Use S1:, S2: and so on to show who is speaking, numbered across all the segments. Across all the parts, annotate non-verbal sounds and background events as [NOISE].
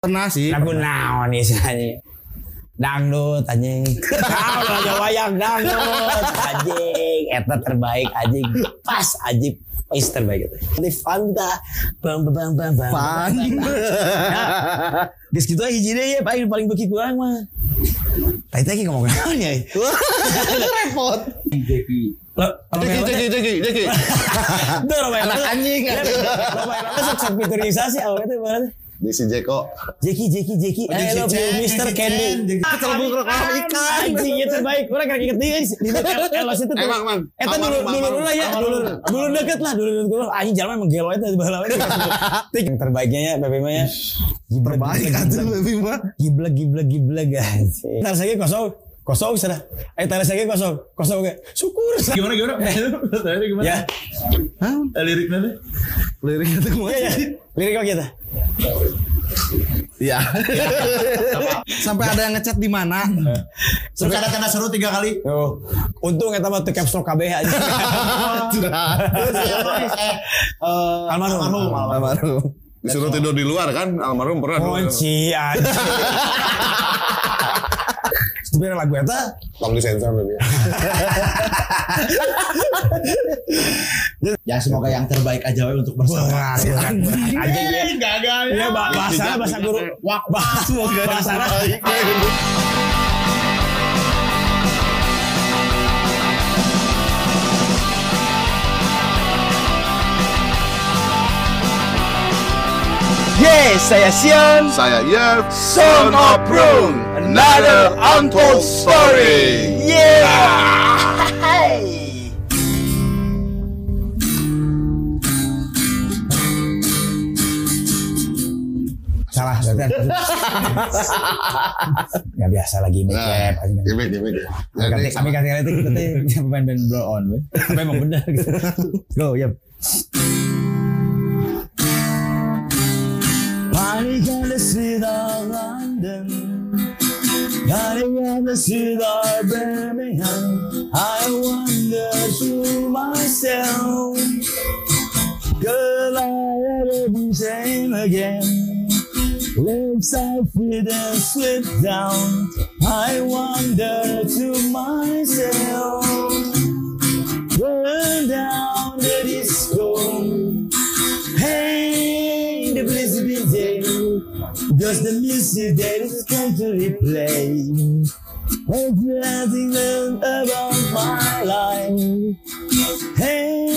S1: pernah sih
S2: lagu naon istilahnya dangdut anjing tahu lah jawa yang dangdut anjing eta terbaik anjing pas anjing is terbaik itu ini fanta bang bang bang bang
S1: pan
S2: [LAUGHS]
S1: nah,
S2: di situ aja jadi ya paling paling bagi kurang mah tapi tadi ngomong naon ya
S1: repot
S2: lo
S1: nah,
S3: Deki, deki, deki, deki.
S1: anak anjing
S2: Iya, Sok pinturisasi awalnya tuh mana?
S3: Desi Jeko.
S2: Jeki, Jeki, Jeki,
S1: Jackie
S2: I love you,
S1: Chan, Jackie Chan,
S2: Mr. Candy.
S1: Jackie-
S2: Ah,
S1: Kecelakaan rekam ikan.
S2: Anjing itu baik. Orang kira inget dia di Elos itu. tuh.
S3: Emang, emang.
S2: Eta dulu
S3: Aman,
S2: dulu
S3: aman.
S2: dulu lah ya, dulu dulu deket lah, dulu deket lah. Anjing jalan emang gelo itu di bawah itu. Tik. Yang terbaiknya ya PPM nya. Giblek,
S1: terbaik kan?
S2: giblek,
S1: atuh lebih mah
S2: Giblek giblek giblek guys. Ntar saya kosong. Kosong sudah. Eh tadi saya kosong. Kosong kayak syukur.
S4: Gimana [LAUGHS] gimana? Tadi gimana?
S2: Ya.
S1: Hah?
S4: Eh, Liriknya deh.
S1: lirik itu
S2: Iya ya. Lirik kok kita.
S3: Iya.
S1: Iya. sampai ada yang ngechat di mana
S4: Terus ada tanda seru tiga kali.
S2: Oh. Untung eta mah teu caps lock kabeh
S4: [LAUGHS]
S2: aja. ya, Eh, Almarhum.
S1: almarhum
S3: Disuruh tidur di luar kan almarhum pernah. dulu.
S2: Kunci aja.
S4: [LAUGHS]
S2: Sebenarnya lagu eta
S3: Tolong
S2: [LAUGHS]
S3: disensor dulu ya.
S4: Ya semoga yang terbaik aja we untuk bersama.
S2: Wah, aja ya.
S4: Gagal
S2: Ya, ba- bahasa
S4: Iya,
S2: bahasa guru. Wah, bahasa bahasa.
S3: Saya Yev, son of Brun, another untold story.
S2: Salah, berarti. Enggak biasa lagi
S3: Nah,
S2: make up.
S3: gimik, gimik. Jadi,
S2: Kami kasih kali itu kita teh [LAUGHS] pemain band blow on, we. memang benar gitu. Go, yep. Running on the street of London, running on the street of Birmingham, I wonder to myself, could I ever be same again? Lips I feel them slip down. I wonder to myself. Burn down the disco. Hang the blissful day. Just the music that is going to replay. Everything about my life. Hey,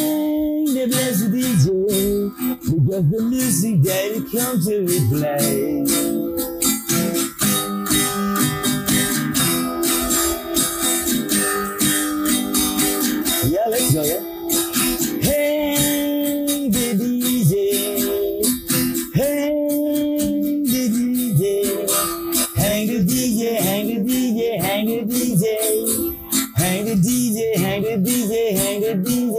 S2: the blessed DJ, because the music that it comes to replay. Yeah, let's go, yeah. Hey, the DJ. Hey, the DJ. Hang the DJ, hang the DJ, hang the DJ. Hang the DJ, hang the DJ, hang the DJ.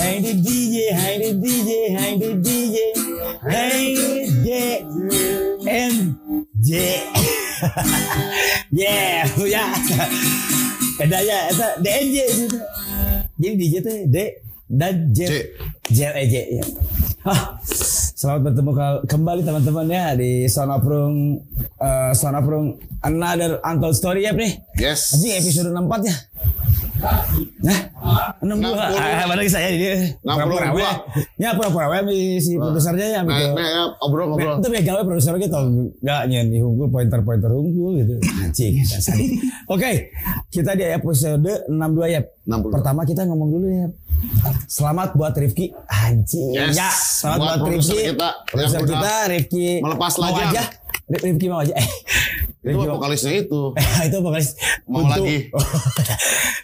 S2: Hang the DJ, hang the DJ, hang the DJ. Hang the DJ. And yeah. yeah, yeah. Bedanya itu DJ itu. Jadi DJ itu D dan J.
S3: J.
S2: J eh, J, ya. Ah, selamat bertemu ke- kembali teman-teman ya di Sonaprung eh, Sonaprung Another Untold Story ya nih.
S3: Yes. Eh,
S2: Anjing episode 64 ya. Nah, 62.
S3: 60.
S2: Ah, padahal saya ini.
S3: 62.
S2: Pura-pura we. Ya pura-pura we si produsernya ya.
S3: Nah,
S2: gitu.
S3: nah, ya, obrol,
S2: Be-
S3: obrol.
S2: Itu begal we produser gitu Gak nyanyi hunkul Pointer-pointer hunkul gitu
S3: Iya.
S2: Anjing dasar. Oke Kita di episode 62 ya
S3: 62.
S2: Pertama kita ngomong dulu ya Selamat buat Rifki Anjing
S3: Yes.
S2: Ya Selamat buat,
S3: Buat produser
S2: Rifki
S3: kita
S2: Produser
S3: yang udah
S2: kita Rifki
S3: melepas
S2: Mau
S3: lajang.
S2: aja Rif- Rifki mau aja [LAUGHS] Eh,
S3: Itu
S2: Rifki mau-
S3: vokalisnya itu.
S2: Eh, itu vokalis
S3: Mau
S2: Untuk-
S3: lagi.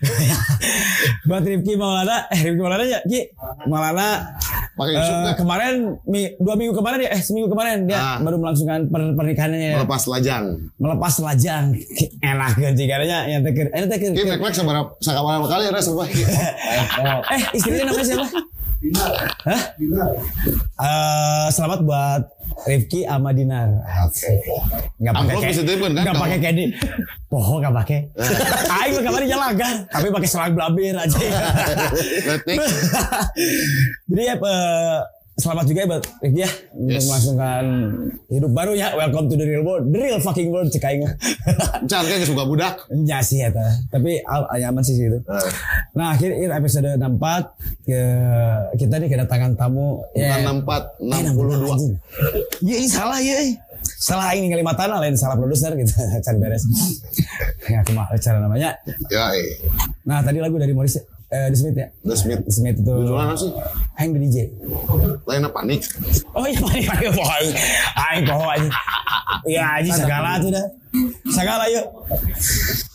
S2: [LAUGHS] Buat Rifki Maulana, eh Rifki Maulana ya, Ki Maulana
S3: Pakai
S2: eh,
S3: Yusuf nggak?
S2: kemarin mi- dua minggu kemarin ya, eh seminggu kemarin dia
S3: Ah.
S2: baru melangsungkan per- pernikahannya ya.
S3: Melepas lajang.
S2: melepas lajang Ki, enak ganti karena yang teker, eh teker.
S3: Ini mek-mek seberapa seberapa kali ada serba.
S2: Eh istrinya namanya siapa? Hah? Eh, selamat buat Rifki sama Dinar. Enggak pakai
S3: Amplop
S2: kayak
S3: bisa ditelepon kan,
S2: Enggak
S3: kamu?
S2: pakai candy. Poho enggak
S3: [LAUGHS]
S2: pakai. Aing mah kemarin jalagan, tapi [LAUGHS] pakai selang blabir aja.
S3: Detik.
S2: Jadi ya eh, selamat juga ya buat Rifki ya untuk
S3: Yes.
S2: melangsungkan hidup barunya. Welcome to the real world, the real fucking world cekaing. [LAUGHS]
S3: Jangan kayak suka budak.
S2: Ya sih ya tapi al- nyaman sih gitu.
S3: Eh,
S2: Nah akhir episode 64 ke- kita nih kedatangan tamu
S3: Bukan
S2: ya,
S3: 64,
S2: Eh,
S3: 62.
S2: anjing. Iya ini salah ya. Salah ini Kalimantan lain salah produser gitu. [LAUGHS] Cari beres. ya kemah cara namanya.
S3: Ya, eh.
S2: Nah tadi lagu dari Morris eh, The Smith ya.
S3: The Smith.
S2: The Smith itu.
S3: Jualan apa sih?
S2: Hang the DJ.
S3: Lain apa nih?
S2: Oh iya paling [LAUGHS] paling pohon. Aing pohon aja. Iya aja segala tuh dah. Segala yuk.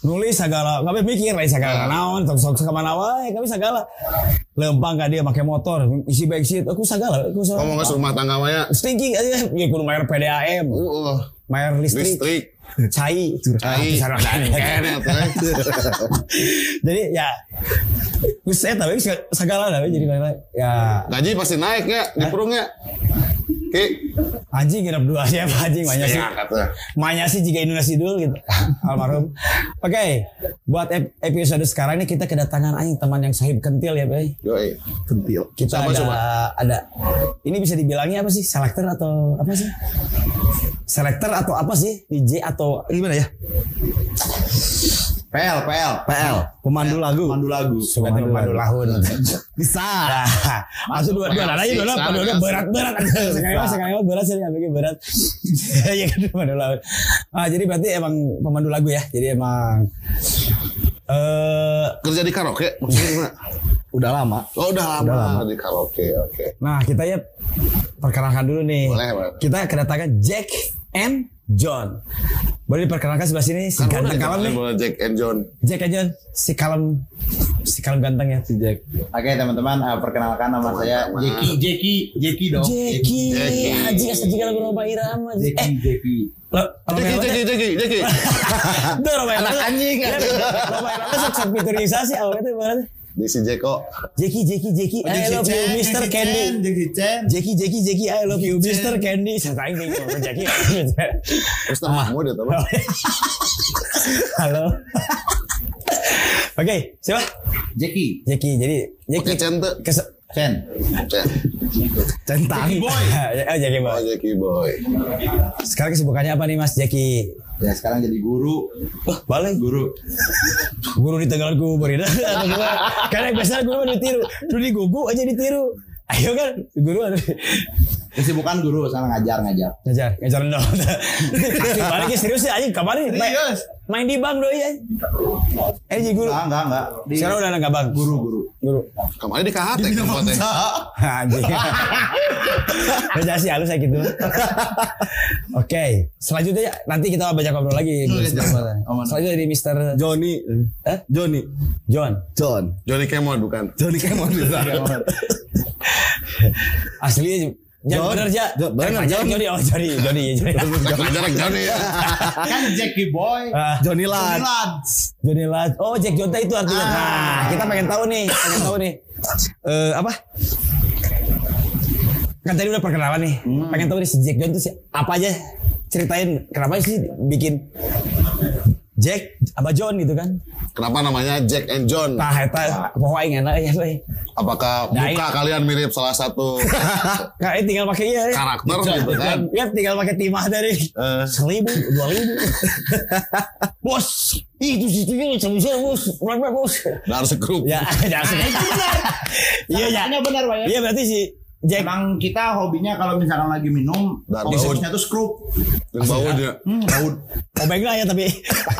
S2: Nulis segala. Kami mikir lain segala naon. Sok sok kemana wae kami segala. Lempang kan dia pakai motor. Isi back seat. Aku segala. Aku segala.
S3: Ngomong ke rumah tangga maya.
S2: Stinking aja. Ya kudu mayar PDAM.
S3: Uh,
S2: Mayar listrik.
S3: listrik. eh.
S2: Cai.
S3: Cai.
S2: Sarang kan.
S3: Keren, teh.
S2: Jadi ya. Gus saya tapi segala lah. Jadi lain-lain. Ya.
S3: Gaji pasti naik ya di perung ya. Ki,
S2: Anjing genap dua ya Pak anjing banyak sih.
S3: Ya, kata.
S2: Manya sih jika Indonesia dulu gitu almarhum. Oke, buat ep- episode sekarang ini kita kedatangan anjing teman yang sahib kentil ya, Bay.
S3: Yoi.
S1: Kentil.
S2: Kita
S3: Siapa,
S2: ada
S3: coba?
S2: ada ini bisa dibilangnya apa sih? Selektor atau apa sih? Selektor atau apa sih? DJ atau gimana ya?
S4: PL, PL.
S1: PL.
S2: Pemandu lagu.
S4: Pandu lagu.
S2: Suka tuh pemandu lahun. [LAUGHS]
S1: Bisa.
S2: Ah, Maksud dua dua aja dulu,
S3: Bisa,
S2: dua
S3: bisa.
S2: berat berat. Sekarang mah sekarang mah berat sih, ambilnya berat. [LAUGHS] Ya kan pemandu lagu. Ah, jadi berarti emang pemandu lagu ya. Jadi emang eh
S3: Kerja di karaoke maksudnya gimana?
S1: Udah lama.
S3: Oh udah lama, di karaoke, oke.
S2: nah kita ya perkenalkan dulu nih.
S3: Boleh, boleh.
S2: Kita kedatangan Jack and John. Boleh diperkenalkan sebelah sini si
S3: Kan
S2: ganteng kalem
S3: udah
S2: nih.
S3: dikenalin sama Jack and John.
S2: Jack and John, si kalem si kalem ganteng ya.
S1: Si Jack.
S4: Oke teman-teman, eh, perkenalkan nama saya Jeki, Jeki, Jeki dong.
S2: Jackie,
S3: Jackie.
S2: aji asa jika lagu Roma Irama. anjing.
S4: Jeki,
S2: Eh,
S4: Jeki.
S2: lo, lo melewat ya?
S3: Jackie, Jackie, Jackie, Jackie.
S2: Duh, Roma Irama.
S1: Anak anjing.
S2: Loba Irama sok sok miturisasi awalnya tuh ibaratnya.
S3: Di si Jeko.
S2: Jeki Jeki Jeki Eh, I love you Mr. Candy.
S4: Jeki Chen.
S2: Jeki Jeki Jeki I love you Mr. Candy. Saya tanya nih sama Jeki.
S3: Terus
S2: Ah.
S3: nama kamu dia
S2: [LAUGHS]
S3: teman.
S2: Halo. Oke, siapa?
S4: Jeki,
S2: Jeki. Jadi
S3: Oke,
S2: Jeki
S3: Chen tuh.
S2: kes
S4: Chen.
S3: Chen.
S2: centang. Boy. [LAUGHS] Oh, Jeki
S3: Oh,
S2: Boy.
S3: Jackie boy.
S2: Sekarang kesibukannya apa nih Mas Jeki?
S4: Ya sekarang jadi guru,
S2: Wah, balik
S4: guru.
S2: guru di Tegal Gubernur itu [LAUGHS] atau gimana? Karena yang biasanya guru mah ditiru, dulu digugu aja ditiru. Ayo kan, guru ada.
S4: Kesibukan guru, sekarang ngajar ngajar.
S2: Ngajar, ngajar dong. Asli [LAUGHS] balik ya, serius ya anjing kemarin main,
S4: Serius?
S2: main di bank doi ya. Eh jadi guru.
S4: Ah, Enggak, enggak, enggak. Di
S2: Sekarang udah enggak bang.
S4: guru, guru.
S2: Guru.
S3: Kamarnya di KHT tempatnya.
S2: Anjing. Kerja sih halus kayak gitu. Oke, selanjutnya nanti kita banyak ngobrol lagi.
S4: Aman.
S2: Selanjutnya dari Mr.
S1: Johnny.
S2: Eh?
S1: Johnny.
S2: John.
S1: John.
S3: Johnny Kemon bukan.
S1: Johnny Kemon.
S2: Aslinya
S1: John.
S2: Jangan bener aja.
S1: John, bener, John.
S2: Jody, oh Jody, Jody,
S1: [LAUGHS]
S2: Jody.
S3: Jangan jarak
S2: [LAUGHS]
S3: Johnny ya.
S4: Kan Jeki Boy.
S2: Ah,
S1: Johnny Lan.
S4: Lance.
S2: Johnny Lodge. Oh, Jack Jonta itu artinya.
S4: Ah.
S2: Nah, kita pengen tahu nih, pengen tahu nih. Eh, apa? Kan tadi udah perkenalan nih.
S3: Hmm.
S2: Pengen tahu nih si Jack Jonta sih apa aja ceritain kenapa sih bikin Jack apa John gitu kan?
S3: Kenapa namanya Jack and John?
S2: Nah, eta pokoknya aing enak ya, Bay.
S3: Apakah
S2: Nah,
S3: muka
S2: iya.
S3: kalian mirip salah satu
S2: [LAUGHS] Nah, ini tinggal pakai iya. ya.
S3: karakter gitu kan?
S2: Ya, tinggal pakai timah dari
S3: Eh.
S2: seribu, dua ribu. bos, itu situ yang bisa bos, berapa bos?
S3: Dark Group.
S2: Ya, [LAUGHS] jangan sebut. Iya, ya.
S4: Hanya benar, Pak. ya?
S2: Iya berarti si Jack
S4: Emang kita hobinya kalau misalkan lagi minum,
S3: Dan
S4: fokusnya tuh skrup.
S3: Yang bau dia.
S4: Hmm, baut.
S2: obeng lah
S1: [LAUGHS]
S2: ya tapi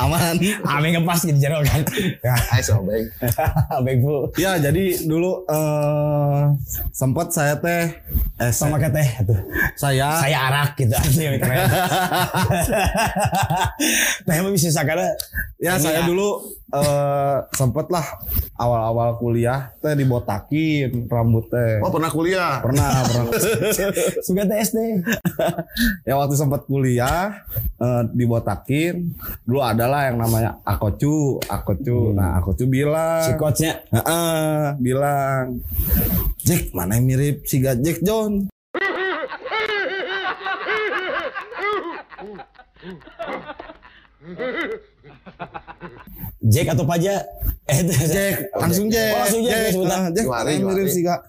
S1: Aman.
S2: obeng ngepas jadi jarang
S1: [LAUGHS]
S2: kan. Ya,
S3: Hai sobeng.
S2: [LAUGHS] obeng bu.
S1: Ya jadi dulu eh sempat saya teh eh
S2: Sama kayak teh tuh.
S1: saya
S2: Saya arak gitu
S1: [LAUGHS]
S2: asli keren. Teh mah bisa sakala.
S1: Ya
S2: Ini
S1: saya
S2: ya.
S1: dulu eh sempet lah awal-awal kuliah teh dibotakin rambut teh.
S3: Oh pernah kuliah.
S1: Pernah, pernah. [LAUGHS]
S2: Suka teh SD.
S1: ya waktu sempat kuliah eh, dibotakin dulu adalah yang namanya Akocu,
S2: Hmm.
S1: Akocu. Nah, Akocu bilang
S2: Si coachnya
S1: Heeh, bilang Jack mana yang mirip si Ga- Jack John?
S2: Jack atau Paja? Eh, itu-
S1: Jack, langsung Jack.
S2: Oh, langsung Jack,
S1: Jack,
S2: sebutan.
S1: ah, Jack
S3: Juari,
S1: mana yang mirip
S3: Juari.
S1: si Ga-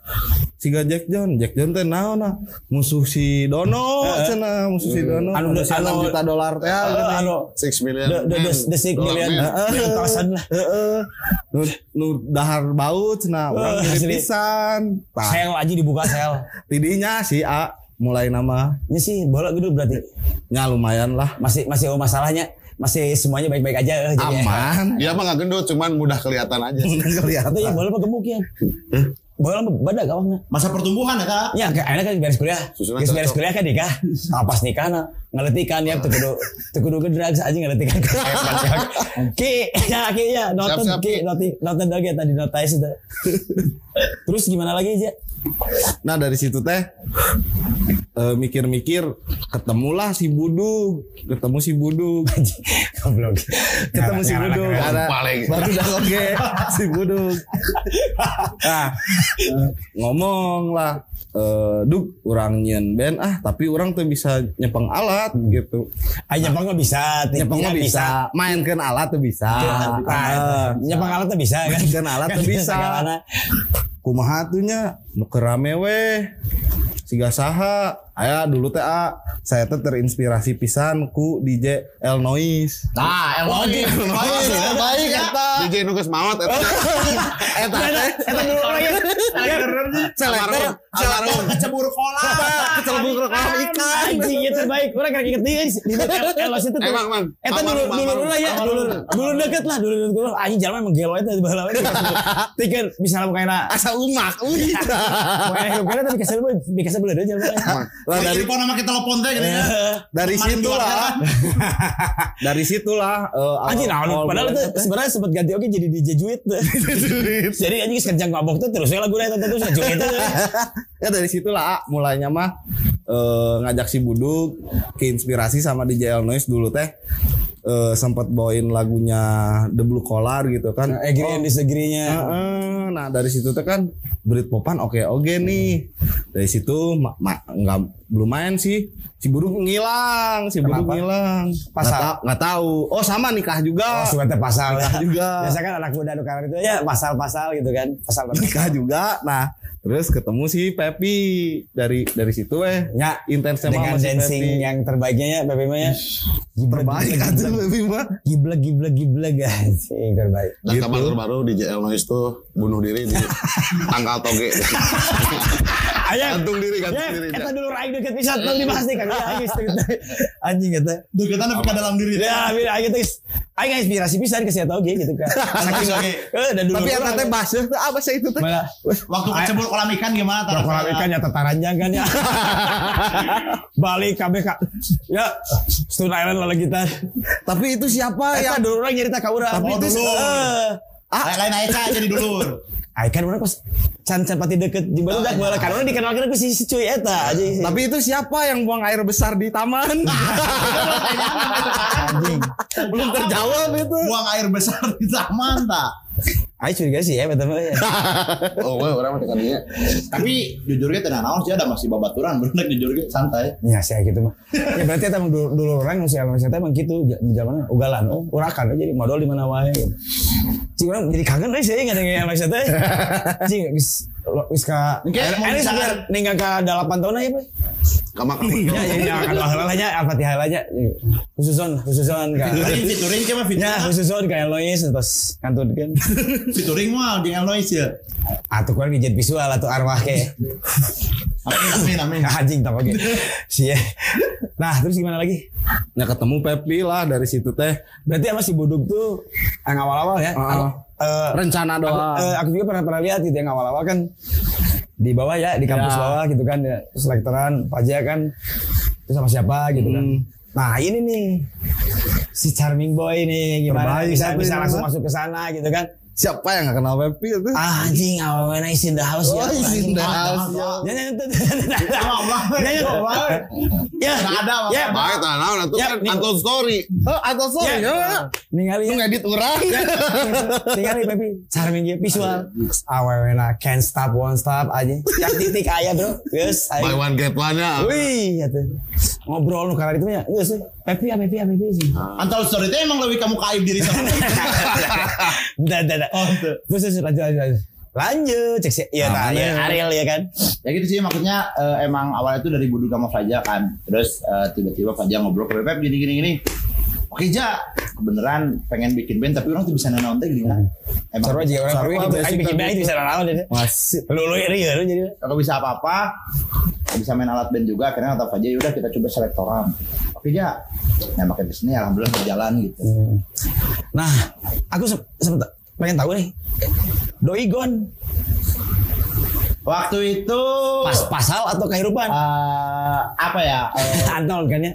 S1: siga Jack John Jack John teh naon nah musuh si Dono cenah musuh si Dono
S2: Anu-
S1: Musuh si
S2: anu-
S1: 6 juta dolar teh
S2: Eh,
S1: ah,
S2: anu
S3: Six million.
S2: the the the, the six
S3: Dollar
S2: million
S3: man.
S2: Heeh, kawasan lah.
S1: Heeh. Nu nu anu, dahar baut cenah urang
S2: Eh,
S1: kirim
S2: asli.
S1: pisan Nah, tah
S2: Sel aja dibuka sel.
S1: tidinya si A mulai nama
S2: Ini sih bola gitu berarti
S1: nya lumayan lah
S2: masih masih oh, masalahnya masih semuanya baik-baik aja eh, jadi
S1: aman Iya,
S3: Dia mah nggak gendut, cuman mudah kelihatan aja. sih.
S2: Atau ya
S1: kelihatan
S2: bola mah gemuk ya. Bola mah badak gawangnya.
S4: Masa pertumbuhan ya kak?
S2: Ya, kayak enak kan beres kuliah.
S3: Susunan
S2: Geus beres
S3: cocok.
S2: kuliah kan nikah. Ah, pas nikah na ngeletikan ya teu kudu teu kudu gedrag aja ngeletikan. Ki, ya ki ya noten
S3: Siap, siap,
S2: ki
S3: Ki.
S2: noten noten lagi tadi notais itu. Terus gimana lagi aja?
S1: nah dari situ teh eh, mikir-mikir ketemulah si Budug ketemu si [LAUGHS] Budug
S2: Goblok.
S1: ketemu si Budug ada
S3: Paling.
S1: baru dah oke si Budug nah eh, ngomong lah eh, Dug orang nyen band ah tapi orang tuh bisa nyepeng alat gitu
S2: Ah, nyepang nggak bisa,
S1: nyepeng
S2: tingginya
S1: mah bisa mainkan alat tuh bisa Heeh.
S2: Ah, Nyepang alat tuh bisa kan?
S1: Mainkan alat tuh bisa.
S2: Segalana.
S1: kumaha atunya nu kerame weh siga saha aya dulu teh A. saya teh terinspirasi pisan ku DJ El Noise
S4: Nah, emoji.
S3: Baik, baik eta. DJ Nugas Mawat eta.
S1: eta teh
S2: Eta dulu lagi.
S1: selektor
S3: Almarhum, almarhum.
S4: Kecebur kolam.
S1: kecelbung rekam ikan
S2: Anjing ya terbaik. Orang kira inget dia di Elos itu. tuh.
S3: Emang, emang.
S2: Eta Eh, dulu
S3: Almarhum,
S2: dulu
S3: almarhum.
S2: dulu ya, dulu dulu deket lah, dulu dulu dulu. Anjing jalan emang gelo itu di bawah lawan. Tiket misalnya mau kena,
S1: asa umak
S2: [LAUGHS]
S1: uy.
S2: mau kena hidup kena tapi kasih lu, dikasih beli aja.
S1: lah
S4: Dari
S1: dari
S4: telepon sama kita telepon teh gitu
S2: Iya,
S4: ya.
S1: dari
S4: Teman
S1: situlah
S4: kan.
S1: dari situlah eh, awal-
S2: Anjing nah,
S1: awal
S2: padahal
S1: mulanya
S2: itu sebenarnya sempat ganti oke jadi DJ Juit.
S1: [LAUGHS]
S2: Jadi anjing kerja mabok tuh terus ya lagu lain tentu terus Juit itu.
S1: ya dari situlah A, mulainya mah eh, ngajak si Buduk keinspirasi sama DJ El Noise dulu teh eh, sempat bawain lagunya The Blue Collar gitu kan.
S2: Agree and disagree-nya.
S1: Heeh, nah dari situ tuh kan Britpopan oke oke nih. Dari situ ma- ma- nggak belum main sih. Si Buduk ngilang, si Buduk
S2: Kenapa?
S1: ngilang.
S2: Pasar?
S1: Nggak ta- nggak tahu. Oh sama nikah
S2: Oh,
S1: juga.
S2: suka teh pasal ya.
S1: juga.
S2: Biasa kan anak muda anu karar itu ya pasal-pasal gitu kan. Pasal-pasal.
S1: nikah juga. Nah terus ketemu si Pepi dari dari situ eh
S2: Ya,
S1: intensnya mah
S2: dengan
S1: sama si
S2: dancing
S1: Pepi.
S2: yang terbaiknya ya Pepe mah ya. Giblek,
S1: terbaik
S2: giblek,
S1: aja Iya, kan? lebih mah
S2: Giblek giblek giblek
S1: [LAUGHS]
S2: guys.
S1: Iya,
S2: Yang
S1: kan,
S2: terbaik.
S3: Dan kabar terbaru DJ El Noise tuh bunuh diri di tangkal toge.
S2: Ayang.
S3: Gantung diri,
S2: Ya,
S3: gantung diri.
S2: eta dulu raing deket pisan tong dibahas nih kagak
S1: [LAUGHS]
S2: aing geus cerita. Anjing eta.
S4: Duh, kita nepi ke dalam diri.
S2: Ya, bir aing teh geus- aing inspirasi pisan ke saya tahu ge
S1: [LAUGHS]
S2: gitu kan. Saking oge. Eh, dan dulu.
S1: tapi
S2: orang-
S1: eta teh bahasa teh apa sih itu teh
S2: malah
S4: Waktu kecebur kolam ikan gimana? Tara?
S2: Prokolam ikan ya tataranjang kan
S1: [LAUGHS]
S2: ya. Balik kabeh ka. Ya, Stone Island lah kita.
S1: tapi itu siapa
S2: Eta
S1: yang
S2: dulu orang nyerita ka urang.
S1: Tapi
S2: Oh,
S1: itu
S2: dulu.
S1: se-
S2: Eh.
S4: Lain- Lain aja jadi dulur.
S2: Ay kan orang pas can can pati deket di baru dak bola kan orang dikenal kan si si cuy eta aja.
S1: tapi itu siapa yang buang air besar di taman
S2: anjing.
S1: belum terjawab itu
S4: Buang air besar di taman tak.
S2: Ay curiga sih ya betul ya. [LAUGHS]
S3: Oh, gue orang mah tekan dia.
S4: Tapi jujurnya tenang nah naon sih ada masih babaturan bener jujurnya santai.
S2: Ya sih gitu mah. Ya berarti eta emang dulu, dulu orang masih almas eta emang gitu ja- di zaman ugalan oh urakan aja jadi modal di mana wae. Gitu. Cing orang jadi kangen euy sih nggak ada yang almas [LAUGHS] eta. Cing geus lo- geus ka
S4: Oke, mau
S2: ini
S4: misalkan-
S2: sampai ninggal ka 8 tahun aja pak.
S3: Kamu kamu.
S2: kan? Ya ya ya kan bahala aja apa tihala aja. Khususon khususon ka. [LAUGHS]
S4: Fituring fituring cuma
S2: Ya
S4: fituring.
S2: khususon ka Elois terus kantun [LAUGHS] kan.
S4: Fituring mah di Eloise ya.
S2: Atuh kurang dijat visual atau arwah ke
S4: Amin amin amin.
S2: [LAUGHS] anjing tak oke. Sia. Nah, terus gimana lagi?
S1: nah ketemu Pepi lah dari situ teh
S2: Berarti sama si Buduk tuh yang awal-awal ya.
S1: Heeh.
S2: Aku, eh,
S1: rencana
S2: aku, eh,
S1: doang
S2: aku juga pernah pernah lihat gitu yang awal-awal kan di bawah ya, di kampus
S1: Ya.
S2: bawah gitu kan ya, terus lektoran, pajak kan. Terus sama siapa gitu kan. Nah, ini nih si charming boy nih gimana
S1: Terbaik
S2: bisa
S1: satu
S2: bisa
S1: ini
S2: langsung
S1: mah.
S2: masuk ke sana gitu kan.
S1: siapa yang gak kenal Pepi itu
S2: Anjing, awal mana is in the house
S1: Oh,
S2: ya.
S1: is in the house, ya.
S2: Ya, ya, ya, ya.
S4: Ya Allah. Ya Allah.
S2: Ya,
S4: Nggak ada, Bang.
S2: ya,
S3: Baik, tak naon atuh
S2: Ya,
S3: kan
S2: nih.
S3: Anton Story.
S1: oh atau so
S2: Ya.
S1: ya
S2: ningali
S1: lu
S2: ya.
S1: ngedit orang
S2: Ningali Pepi, charming dia visual. Awewena can't stop won't stop aja. Yang titik aya bro, geus
S3: Buy
S2: aya.
S3: one get one ya. nya.
S2: Wih, atuh. Ngobrol nu karena itu ya, geus. eh. Pepi ya Pepi ya Pepi sih.
S4: Antara story itu emang lebih kamu kaib diri sama.
S2: Dah dah dah.
S4: Oh, tuh.
S2: Terus terus lanjut lanjut. lanjut. lanjut cek sih iya nah, ya, Ariel ya kan
S4: ya gitu sih maksudnya eh, emang awalnya itu dari Buduk sama Fajar kan terus eh, tiba-tiba Fajar ngobrol ke Pep gini gini gini oke ja beneran pengen bikin band tapi orang tuh bisa nanaon teh gini kan emang
S2: seru aja orang
S1: Sarwa
S2: perlu gitu
S1: basic
S2: ayo bikin
S1: kan
S2: band itu bisa lama jadi
S1: masih
S2: lu lu ini ya lu jadi
S4: kalau bisa apa-apa nggak bisa main alat band juga akhirnya atau aja udah kita coba selektoran oke ja nah makin kesini alhamdulillah berjalan gitu
S2: Hmm. nah aku se- sempet pengen tahu nih doi gon
S4: waktu itu
S2: pas pasal atau kehidupan
S4: eh, apa ya eh,
S2: Anol kan ya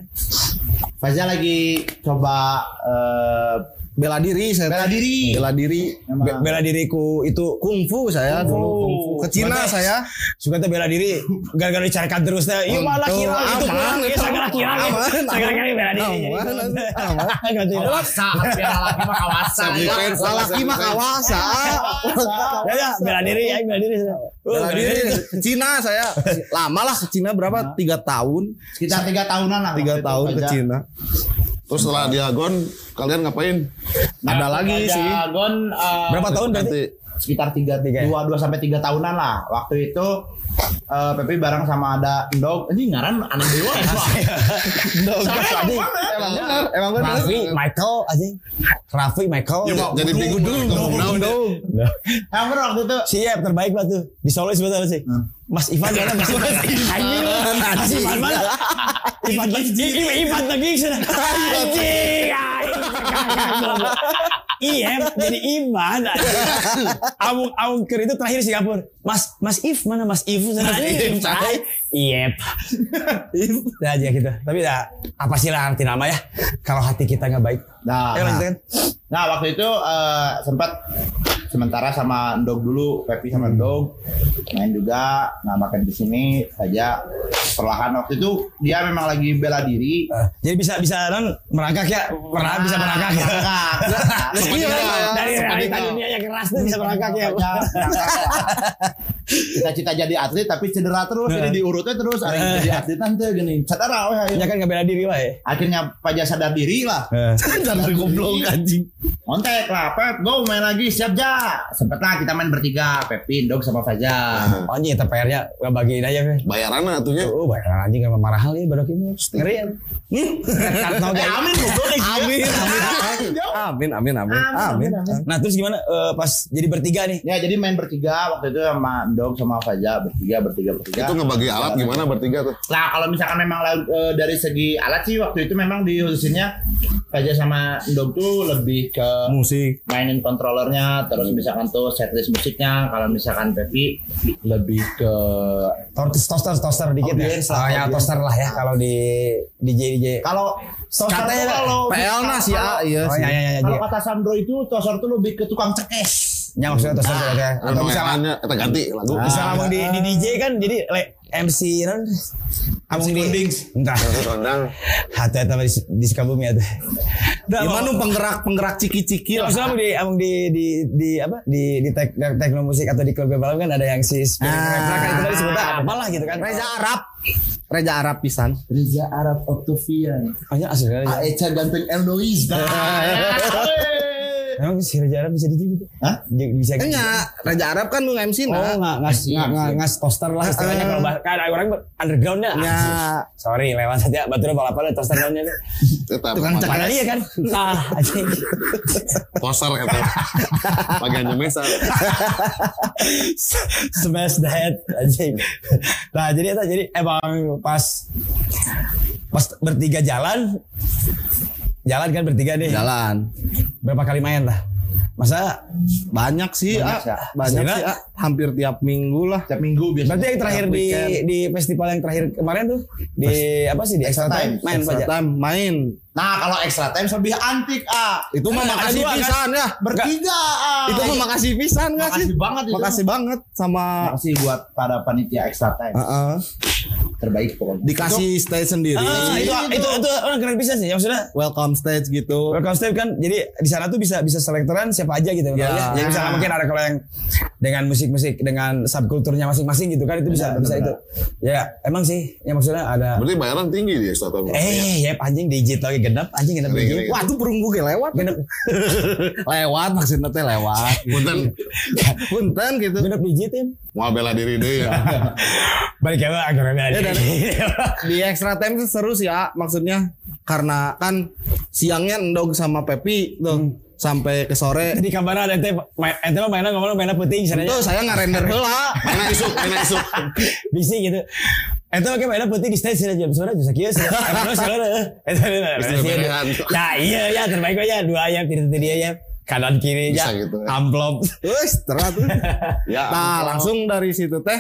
S4: Fajar lagi coba eh,
S1: bela diri saya
S4: bela diri
S1: bela diri
S4: Emang.
S2: Be- bela diriku itu
S1: kungfu saya dulu kungfu. ke Cina
S2: Mantap.
S1: saya
S2: suka tuh bela diri gara-gara dicarikan terusnya iya malah
S1: Tuh,
S2: kira
S1: aman,
S2: itu pulang ya
S1: itu
S2: segala kira
S1: aman,
S2: segala kira bela diri Gitu.
S1: aman,
S2: [LAUGHS]
S1: aman.
S2: aman
S4: laki mah kawasan
S1: laki mah kawasa
S2: ya ya bela diri ya bela diri Uh,
S1: bela diri ke Cina saya lama lah ke Cina berapa tiga tahun
S4: [LAUGHS] sekitar tiga tahunan lah
S1: tiga
S4: waktu itu,
S1: tahun ke
S4: Fajar.
S1: Cina
S3: Terus setelah diagon, kalian ngapain?
S1: ada lagi
S4: Fajar
S1: sih
S4: Nah, Gon, eh,
S2: berapa tahun berarti
S3: Nanti
S4: sekitar tiga
S2: Tiga ya?
S4: dua dua sampai tiga tahunan lah waktu itu eh Pepe bareng sama ada Endog ini ngaran anak dewa ya Pak?
S2: Dong,
S4: Soalnya
S2: tadi.
S4: emang bener, emang bener.
S1: emang bener
S2: Raffi Michael aja Raffi Michael
S3: Ya, Pak, jadi bingung Nah, dulu.
S1: iya.
S4: Emang bener waktu itu
S2: siap terbaik lah tuh di Solo sebetulnya sih Mas Ivan mana Mas Ivan anjing Mas
S1: Anjing.
S2: Ivan mana Ivan lagi Ivan Ivan Iya, lagi sana anjing IM iya. jadi Iman Amung Amung Ker itu terakhir di Singapura Mas Mas If mana Mas If sana
S1: If, say.
S2: Iep Udah aja gitu Tapi ya Apa sih lah arti nama ya Kalau hati kita nggak baik
S4: nah,
S2: Ayo
S4: nah,
S2: lanjutkan
S4: nah, waktu itu eh, sempat sementara sama Endog dulu Pepe sama Endog main juga nah makan di sini saja perlahan waktu itu dia memang lagi bela diri
S2: Eh, Jadi bisa bisa kan merangkak ya
S1: Ah,
S2: pernah bisa
S4: Ah,
S2: merangkak ya.
S4: Merangkak.
S2: Dari-
S1: [LAUGHS] Iya,
S2: dari
S3: seperti
S2: realita
S4: iya.
S3: kita.
S2: dunia yang keras tuh bisa merangkak ya.
S4: Makanya Cita-cita jadi atlet tapi cedera terus,
S1: Nah.
S4: jadi diurutnya terus. Ada yang jadi atlet nanti gini, cedera weh. ayo.
S2: Ya kan nggak bela diri lah ya.
S4: Akhirnya Paja sadar diri
S1: [LAUGHS]
S4: lah.
S1: jangan goblok Iya, anjing
S4: Kontak lah, Pep, go main lagi, siap ja. Sempet lah kita main bertiga, Pepin, Dog sama Faja.
S2: Oh iya, tapi PR-nya nggak bagiin aja. Fe.
S3: bayaran lah atunya.
S2: Oh, bayar anjing nggak marah hal ya baru ini. Ngeri ya. Karena udah amin
S1: Iya. [LAUGHS] amin amin amin amin amin amin
S2: Nah terus gimana eh, pas jadi bertiga nih?
S4: Ya jadi main bertiga waktu itu sama Dog sama Faja bertiga bertiga bertiga.
S3: Itu ngebagi alat gimana bertiga tuh?
S4: Nah kalau misalkan memang la- eh, dari segi alat sih waktu itu memang dihususinnya Faja sama Dog tuh lebih ke
S1: musik
S4: mainin kontrolernya terus misalkan tuh setlist musiknya kalau misalkan Pepi lebih ke
S2: Tortis toaster toaster dikit ya.
S4: Audience lah,
S2: Oh, ya
S4: audience.
S2: toaster lah ya kalau di DJ DJ.
S4: kalau Tosar
S2: Katanya
S4: tuh kalau
S1: PL nah si A iya
S2: Oh
S1: sih.
S2: ya ya ya.
S4: ah, kalau kata Sandro itu Tosar tuh lebih ke tukang cekes
S2: Yang maksudnya toaster tuh, ya. Atau
S3: Atau
S2: bisa
S3: misalnya, kita ganti lagu.
S2: bisa ngomong di, di DJ kan jadi like, MC non ngomong di
S1: [LAUGHS]
S2: entah
S3: Kondang.
S2: hati-hati sama di, di Sukabumi ya tuh
S1: Gimana nu penggerak penggerak ciki-ciki lah.
S2: Maksudnya emang di emang di di di apa di di tek, di tekno musik atau di klub yang malam kan ada yang si Spirit
S1: Ah.
S2: Rapper kan itu tadi sebutnya apalah gitu kan.
S1: Reza Arab. Reza Arab pisan.
S4: Reza Arab Octavian
S2: Hanya asli kan.
S4: Aecha Ah, ganteng [LAUGHS] Elnois Nah,
S1: Ah.
S2: Emang si Reza Arab bisa DJ gitu?
S4: Hah?
S2: Dia bisa gitu.
S1: Enya, Eh, Reza Arab kan nu MC
S2: Oh,
S1: nah.
S2: nggak nggak nggak nggak ngas toaster lah istilahnya
S1: Eh.
S2: kalau bah- kan ada orang undergroundnya. Ah,
S1: Ya.
S2: Sorry, lewat saja. Baturan balapan toaster downnya.
S1: Tukang
S3: Tetap
S2: Padahal iya
S1: [LAUGHS]
S2: kan. Nah, anjing.
S3: poster kata. Bagiannya mesa.
S2: [LAUGHS] smash the head anjing. Nah jadi itu jadi emang pas pas bertiga jalan jalan kan bertiga nih
S1: Jalan.
S2: berapa kali main lah masa
S1: Banyak sih,
S4: Banyak
S1: banyak,
S4: sih, A.
S1: banyak
S2: Sehingga-
S1: sih, ah. A. hampir tiap minggu lah.
S4: setiap minggu biasanya
S2: berarti yang terakhir di di festival yang terakhir kemarin tuh di apa sih di extra
S4: Extra
S2: time
S4: Time.
S2: main
S1: Extra
S2: saja
S1: time main.
S4: nah kalau extra time lebih antik ah
S1: Itu mah
S2: Ada-
S1: Eh,
S2: ada
S1: makasih
S2: dua, kan?
S1: pisan ya.
S4: bertiga ah
S1: Itu mah makasih pisan nggak Iya, sih?
S4: makasih banget itu.
S1: Makasih banget sama Ah.
S4: makasih buat para panitia extra time
S1: Heeh.
S4: terbaik pokoknya.
S1: Dikasih stage sendiri.
S2: Ah, itu, itu, itu, orang keren bisa sih. Ya, maksudnya
S1: Welcome stage gitu.
S2: Welcome step kan jadi di sana tuh bisa bisa selektoran siapa aja gitu
S1: Ya.
S2: ya. Jadi misalnya mungkin ada kalau yang dengan musik-musik dengan subkulturnya masing-masing gitu kan itu bisa bisa itu. Ya emang sih ya maksudnya ada
S3: Berarti bayaran tinggi dia startup.
S2: eh ya anjing digit lagi genap anjing genap
S3: Ngeri,
S2: digit.
S3: ngeri.
S1: Wah, itu burung buke lewat.
S2: Genap
S1: [LAUGHS] lewat maksudnya teh lewat. [LAUGHS]
S3: Punten,
S1: Punten gitu.
S2: genap digit ya.
S3: mau bela diri deh ya.
S2: Balik ke akhirnya
S1: Ya,
S2: ada.
S1: dan- Di extra time tuh seru sih ya maksudnya karena kan siangnya endog sama Pepi tuh sampai ke sore.
S2: Di kamar ada ente main- ente mah mainan ngomong mainan penting sana
S1: Tuh saya ngerender heula.
S3: Enak isuk, enak isuk.
S2: bisi gitu. Ente pakai mainan penting di stage sana jam sore jam
S3: [LAUGHS]
S2: sekian. sih. Emang lu sore. Ente mainan
S3: Bisa
S2: sih.
S3: barengan.
S2: Nah iya ya terbaik aja dua ayam kiri tadi ayam ya. kanan kiri
S3: Bisa
S2: ya
S3: gitu ya.
S2: amplop
S1: Terus terat.
S3: Ya,
S1: Nah, langsung dari situ teh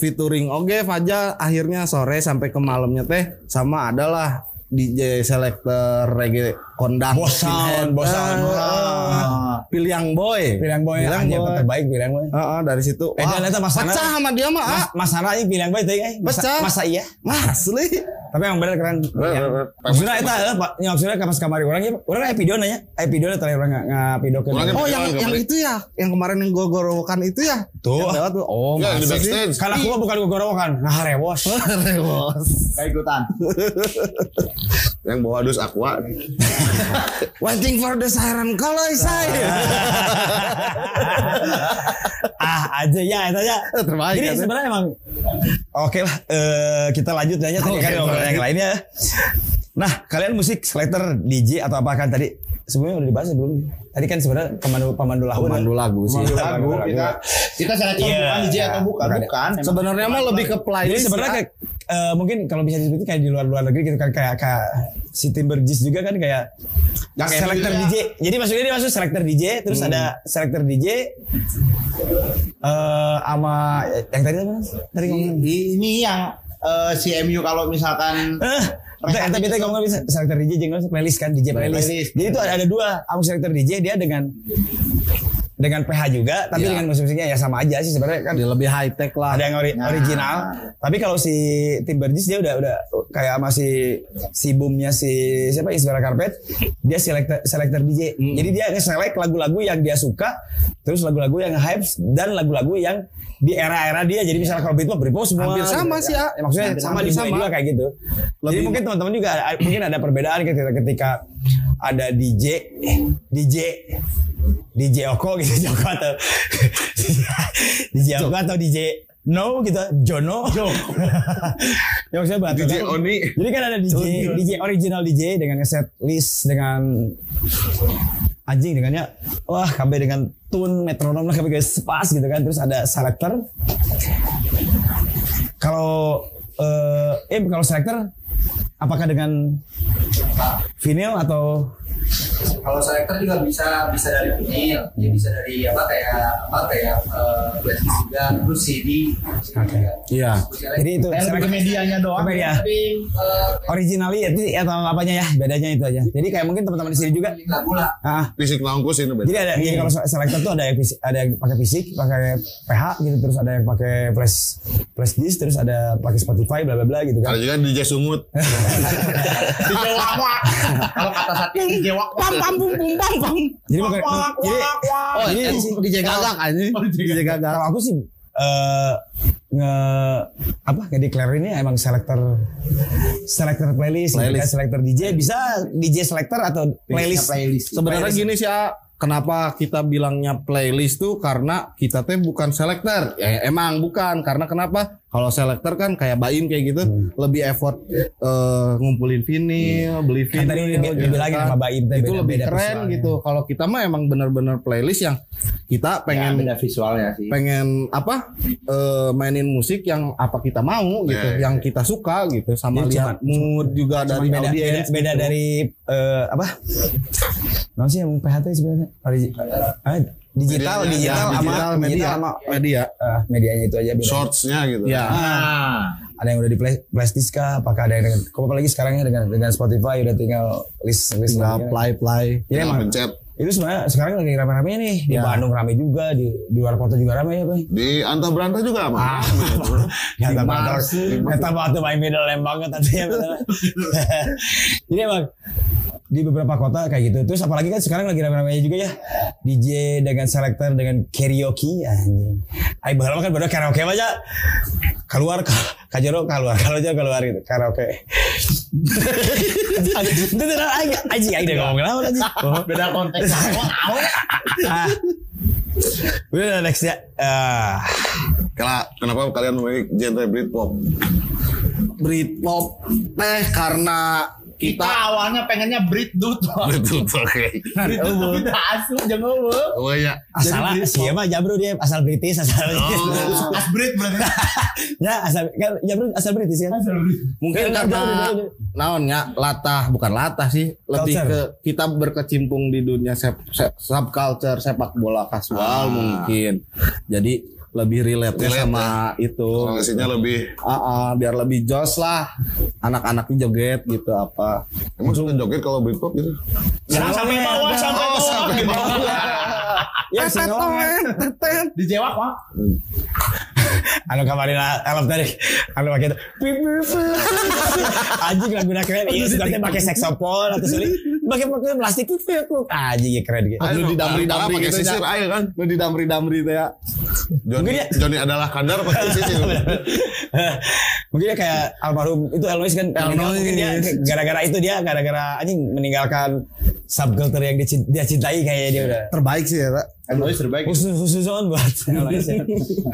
S1: featuring oge Fajar akhirnya sore sampai ke malamnya teh sama adalah DJ selector reggae kondang
S2: Bos sound, bos sound.
S1: Ah. Piliang boy
S2: bilang boy
S1: Piliang
S2: anjing
S1: Boy.
S2: terbaik bilang boy
S1: Ah, ah, dari situ
S2: Eh,
S1: wah,
S2: dan eta Mas Ana-
S1: pecah sama dia mah ah.
S2: Mas, mas Sarah ini bilang boy tadi eh masa,
S1: Pecah.
S2: masa iya
S1: Mah, asli
S2: tapi emang bener keren
S3: Bener,
S2: Ya.
S3: bener, bener.
S2: maksudnya itu eh, pak yang maksudnya kapas kamari orang ya orang kayak video nanya eh video tadi orang nggak nggak video ke
S3: Orang
S1: Oh
S3: Tapi
S1: yang
S3: jangan,
S1: yang
S3: nggak
S1: itu ya yang kemarin yang gue gorokan itu ya
S2: Tuh.
S1: Yang lewat tuh oh
S3: Enggak, Iya, di
S1: masa sih
S3: backstage.
S2: karena aku mah bukan gorokan nah rewos
S1: Rewos.
S4: Kayak ikutan.
S3: Yang bawa dus aqua.
S1: Waiting for the siren kalau [LAUGHS] saya
S2: ah aja ya itu aja
S1: Eh, terbaik,
S2: jadi
S1: kan?
S2: sebenarnya emang oke lah eh, kita lanjut aja tadi
S1: Oke,
S2: kan obrolan
S1: lanjut.
S2: yang lainnya nah kalian musik selector DJ atau apa kan tadi sebelumnya udah dibahas ya, belum tadi kan sebenarnya pemandu pemandu lagu ya?
S1: Pemandu lagu sih.
S2: Pemandu
S4: Lagu kita kita selektor
S2: Iya,
S4: bukan DJ
S2: iya.
S4: atau bukan
S2: Bukan, ya.
S4: bukan. Emang
S1: sebenarnya mah
S4: bukan.
S1: lebih ke
S2: jadi
S1: playlist
S4: ah.
S2: sebenarnya
S1: ya.
S2: kayak eh, mungkin kalau bisa disebutin kayak di luar-luar negeri gitu kan kayak kayak si Timberjis juga kan kayak
S4: Yang kayak
S2: selector
S4: gitu ya. Hmm.
S2: DJ. Jadi maksudnya dia masuk selector DJ, terus ada selector DJ eh sama yang tadi apa? Tadi ngomong.
S4: ini yang eh, si MU kalau misalkan
S2: Eh, kita kita kita ngomong bisa selector DJ jangan lupa playlist kan DJ playlist.
S4: Playlist.
S2: Jadi itu ada, ada dua, aku selector DJ dia dengan dengan PH juga, tapi
S1: Iya.
S2: dengan musik-musiknya ya sama aja sih sebenarnya
S4: Iya.
S2: kan.
S1: Dia lebih high tech lah.
S2: ada yang ori-
S4: Nah.
S2: original tapi kalau si Timberjis dia udah udah kayak masih si boomnya si siapa Isabella Karpet dia selector selector DJ
S1: Hmm.
S2: jadi dia nge-select lagu-lagu yang dia suka terus lagu-lagu yang hype dan lagu-lagu yang di era-era dia jadi misalnya kalau Britpop Britpop semua gitu
S1: Hampir
S2: kan.
S1: sama sih, ya.
S2: maksudnya
S1: Hampir
S2: sama
S1: hampir
S2: di
S1: sama.
S2: juga kayak gitu jadi
S1: Lebih-
S2: mungkin teman-teman juga ada, mungkin ada perbedaan ketika ketika ada DJ DJ DJ Oko gitu [LAUGHS] Joko atau DJ Oko atau DJ No gitu Jono [LAUGHS] ya maksudnya batu
S3: DJ
S2: kan?
S3: Oni.
S2: jadi kan ada DJ DJ original DJ dengan set list dengan anjing dengannya wah KB dengan tune metronom lah KB guys pas gitu kan terus ada selector kalau eh, eh kalau selector apakah dengan vinyl atau
S5: kalau selector juga bisa bisa dari vinyl ya bisa dari apa kayak apa kayak eh, plastik juga terus CD juga.
S1: Iya.
S5: Terus
S2: jadi itu
S4: yang lebih ke medianya doang.
S2: Ke media.
S5: tapi eh,
S2: originalnya atau apanya ya bedanya itu aja jadi kayak mungkin teman-teman di sini juga
S5: bikin lagu lah
S2: ah
S3: Fisik nangkus ini
S2: Jadi
S3: beda.
S2: ada jadi kalau selector tuh ada yang fisik, ada yang pakai fisik, pakai PH gitu, terus ada yang pakai flash flash disk, terus ada pakai Spotify, bla bla bla gitu
S3: Ada
S2: kan.
S3: juga DJ Sungut.
S4: DJ
S5: [LAUGHS]
S4: Wak-Wak. Kalau kata satu DJ Wak.
S1: Pam pam pum pum pam pam.
S2: Jadi pakai jadi
S1: Oh,
S2: jadi
S1: ini DJ gagak anjing. DJ gagak.
S2: kalau aku sih eh nge apa nge declare ini emang selector selector playlist, gitu
S1: Playlist.
S2: kan, selector DJ bisa DJ selector atau playlist.
S4: playlist.
S1: Sebenarnya gini sih ya, kenapa kita bilangnya playlist tuh karena kita teh bukan selector. Ya, emang bukan karena kenapa? Kalau selector kan kayak Baim kayak gitu
S2: Hmm.
S1: lebih effort eh, ngumpulin vinyl, beli
S2: Kan
S1: vinyl.
S2: tadi udah
S1: gitu
S2: dibilangin
S1: kan.
S2: sama Baim teh,
S1: itu
S2: beda-
S1: lebih
S2: beda
S1: keren
S2: visualnya.
S1: gitu. Kalau kita mah emang bener-bener playlist yang
S2: Iya,
S1: kita
S5: Ya,
S4: pengen
S1: pengen
S4: beda visualnya sih.
S1: pengen apa eh, mainin musik yang apa kita mau gitu,
S3: Ya, ya,
S1: yang kita suka gitu, sama
S2: Iya, Jadi
S1: lihat mood juga
S2: Cuman
S1: dari
S2: beda, beda,
S1: audiens. gitu.
S2: beda dari eh, apa? Nah sih yang PHT sebenarnya Origi- eh, digital,
S3: Medianya,
S1: Ya,
S2: digital, sama
S1: digital media,
S2: digital sama Iya.
S1: media.
S2: eh, medianya itu aja beda.
S3: Shortsnya gitu.
S1: Ya.
S4: Nah,
S2: Ada yang udah di play- playlist kah? Apakah ada yang dengan? Kalau apalagi sekarangnya dengan dengan Spotify udah tinggal list list
S1: tinggal
S2: lagi kan.
S1: play play
S2: Jadi
S3: Tinggal
S2: emang
S3: pencet.
S2: Itu sebenarnya sekarang lagi rame-rame nih di
S1: Iya.
S2: Bandung rame juga di di luar kota juga rame ya bang.
S3: Di antah berantah juga aman.
S2: Ah. Ya tak bakal.
S3: Mars.
S2: Kita batu main middle lane banget tadi ya. bener. Jadi emang di beberapa kota kayak gitu. Terus apalagi kan sekarang lagi rame-ramenya juga ya DJ dengan selector dengan karaoke anjing. Ai bahala kan bodoh karaoke aja. Keluar ka- kajero keluar kalau aja keluar gitu karaoke. Itu tidak aing anjing aing udah ngomong kenapa tadi.
S4: Beda konteks.
S2: Ah. Udah next ya. Ah.
S3: Kela- Kenapa kalian memilih genre Britpop?
S1: Britpop teh karena kita
S4: Kita
S1: Nah,
S4: awalnya pengennya breed dude.
S2: Iya,
S3: Betul, oke.
S4: Breed dude tapi tak asuh jangan ngomong.
S3: Oh iya.
S2: asal sih mah jabru dia asal British asal
S3: Oh.
S4: As breed berarti.
S2: ya asal kan jabru asal British kan
S4: Asal breed.
S1: mungkin
S2: Eh,
S3: Ya,
S1: karena
S2: udah, udah,
S1: naonnya latah bukan latah sih lebih
S2: Culture.
S1: ke kita berkecimpung di dunia sep, sep- subculture sepak bola kasual
S3: Ah.
S1: mungkin. Jadi lebih relate,
S3: Relate, ya.
S4: Ah,
S1: sama itu.
S3: Kondisinya lebih.
S1: Ah, ah, biar lebih jos lah anak-anaknya joget gitu apa.
S3: Emang suka joget kalau Britpop gitu?
S4: Sampai bawah sampai
S3: Oh,
S4: bawah. Iya,
S3: sampai bawah.
S2: ya sengaja
S4: Dijewak mah.
S2: anu kemarin lah alam tadi anu pakai itu anjing lagu nak keren iya sudah dia pakai saxophone atau soli pakai pakai plastik anjing ya keren gitu
S1: Aduh, di damri
S3: Malah
S1: damri
S3: pakai
S1: gitu
S3: sisir
S1: ya.
S3: aja kan.
S1: Lu di damri damri teh. ya.
S3: Johnny,
S2: Mungkin ya.
S3: Johnny adalah kadar
S1: [LAUGHS]
S3: pakai sisir.
S2: mungkin dia kayak almarhum itu Elnois kan meninggal. mungkin dia gara-gara itu dia gara-gara anjing meninggalkan subculture yang dici- dia cintai kayaknya dia udah
S1: Terbaik sih ya. Teh.
S4: Emang terbaik.
S2: khusus khususon buat Elnois ya.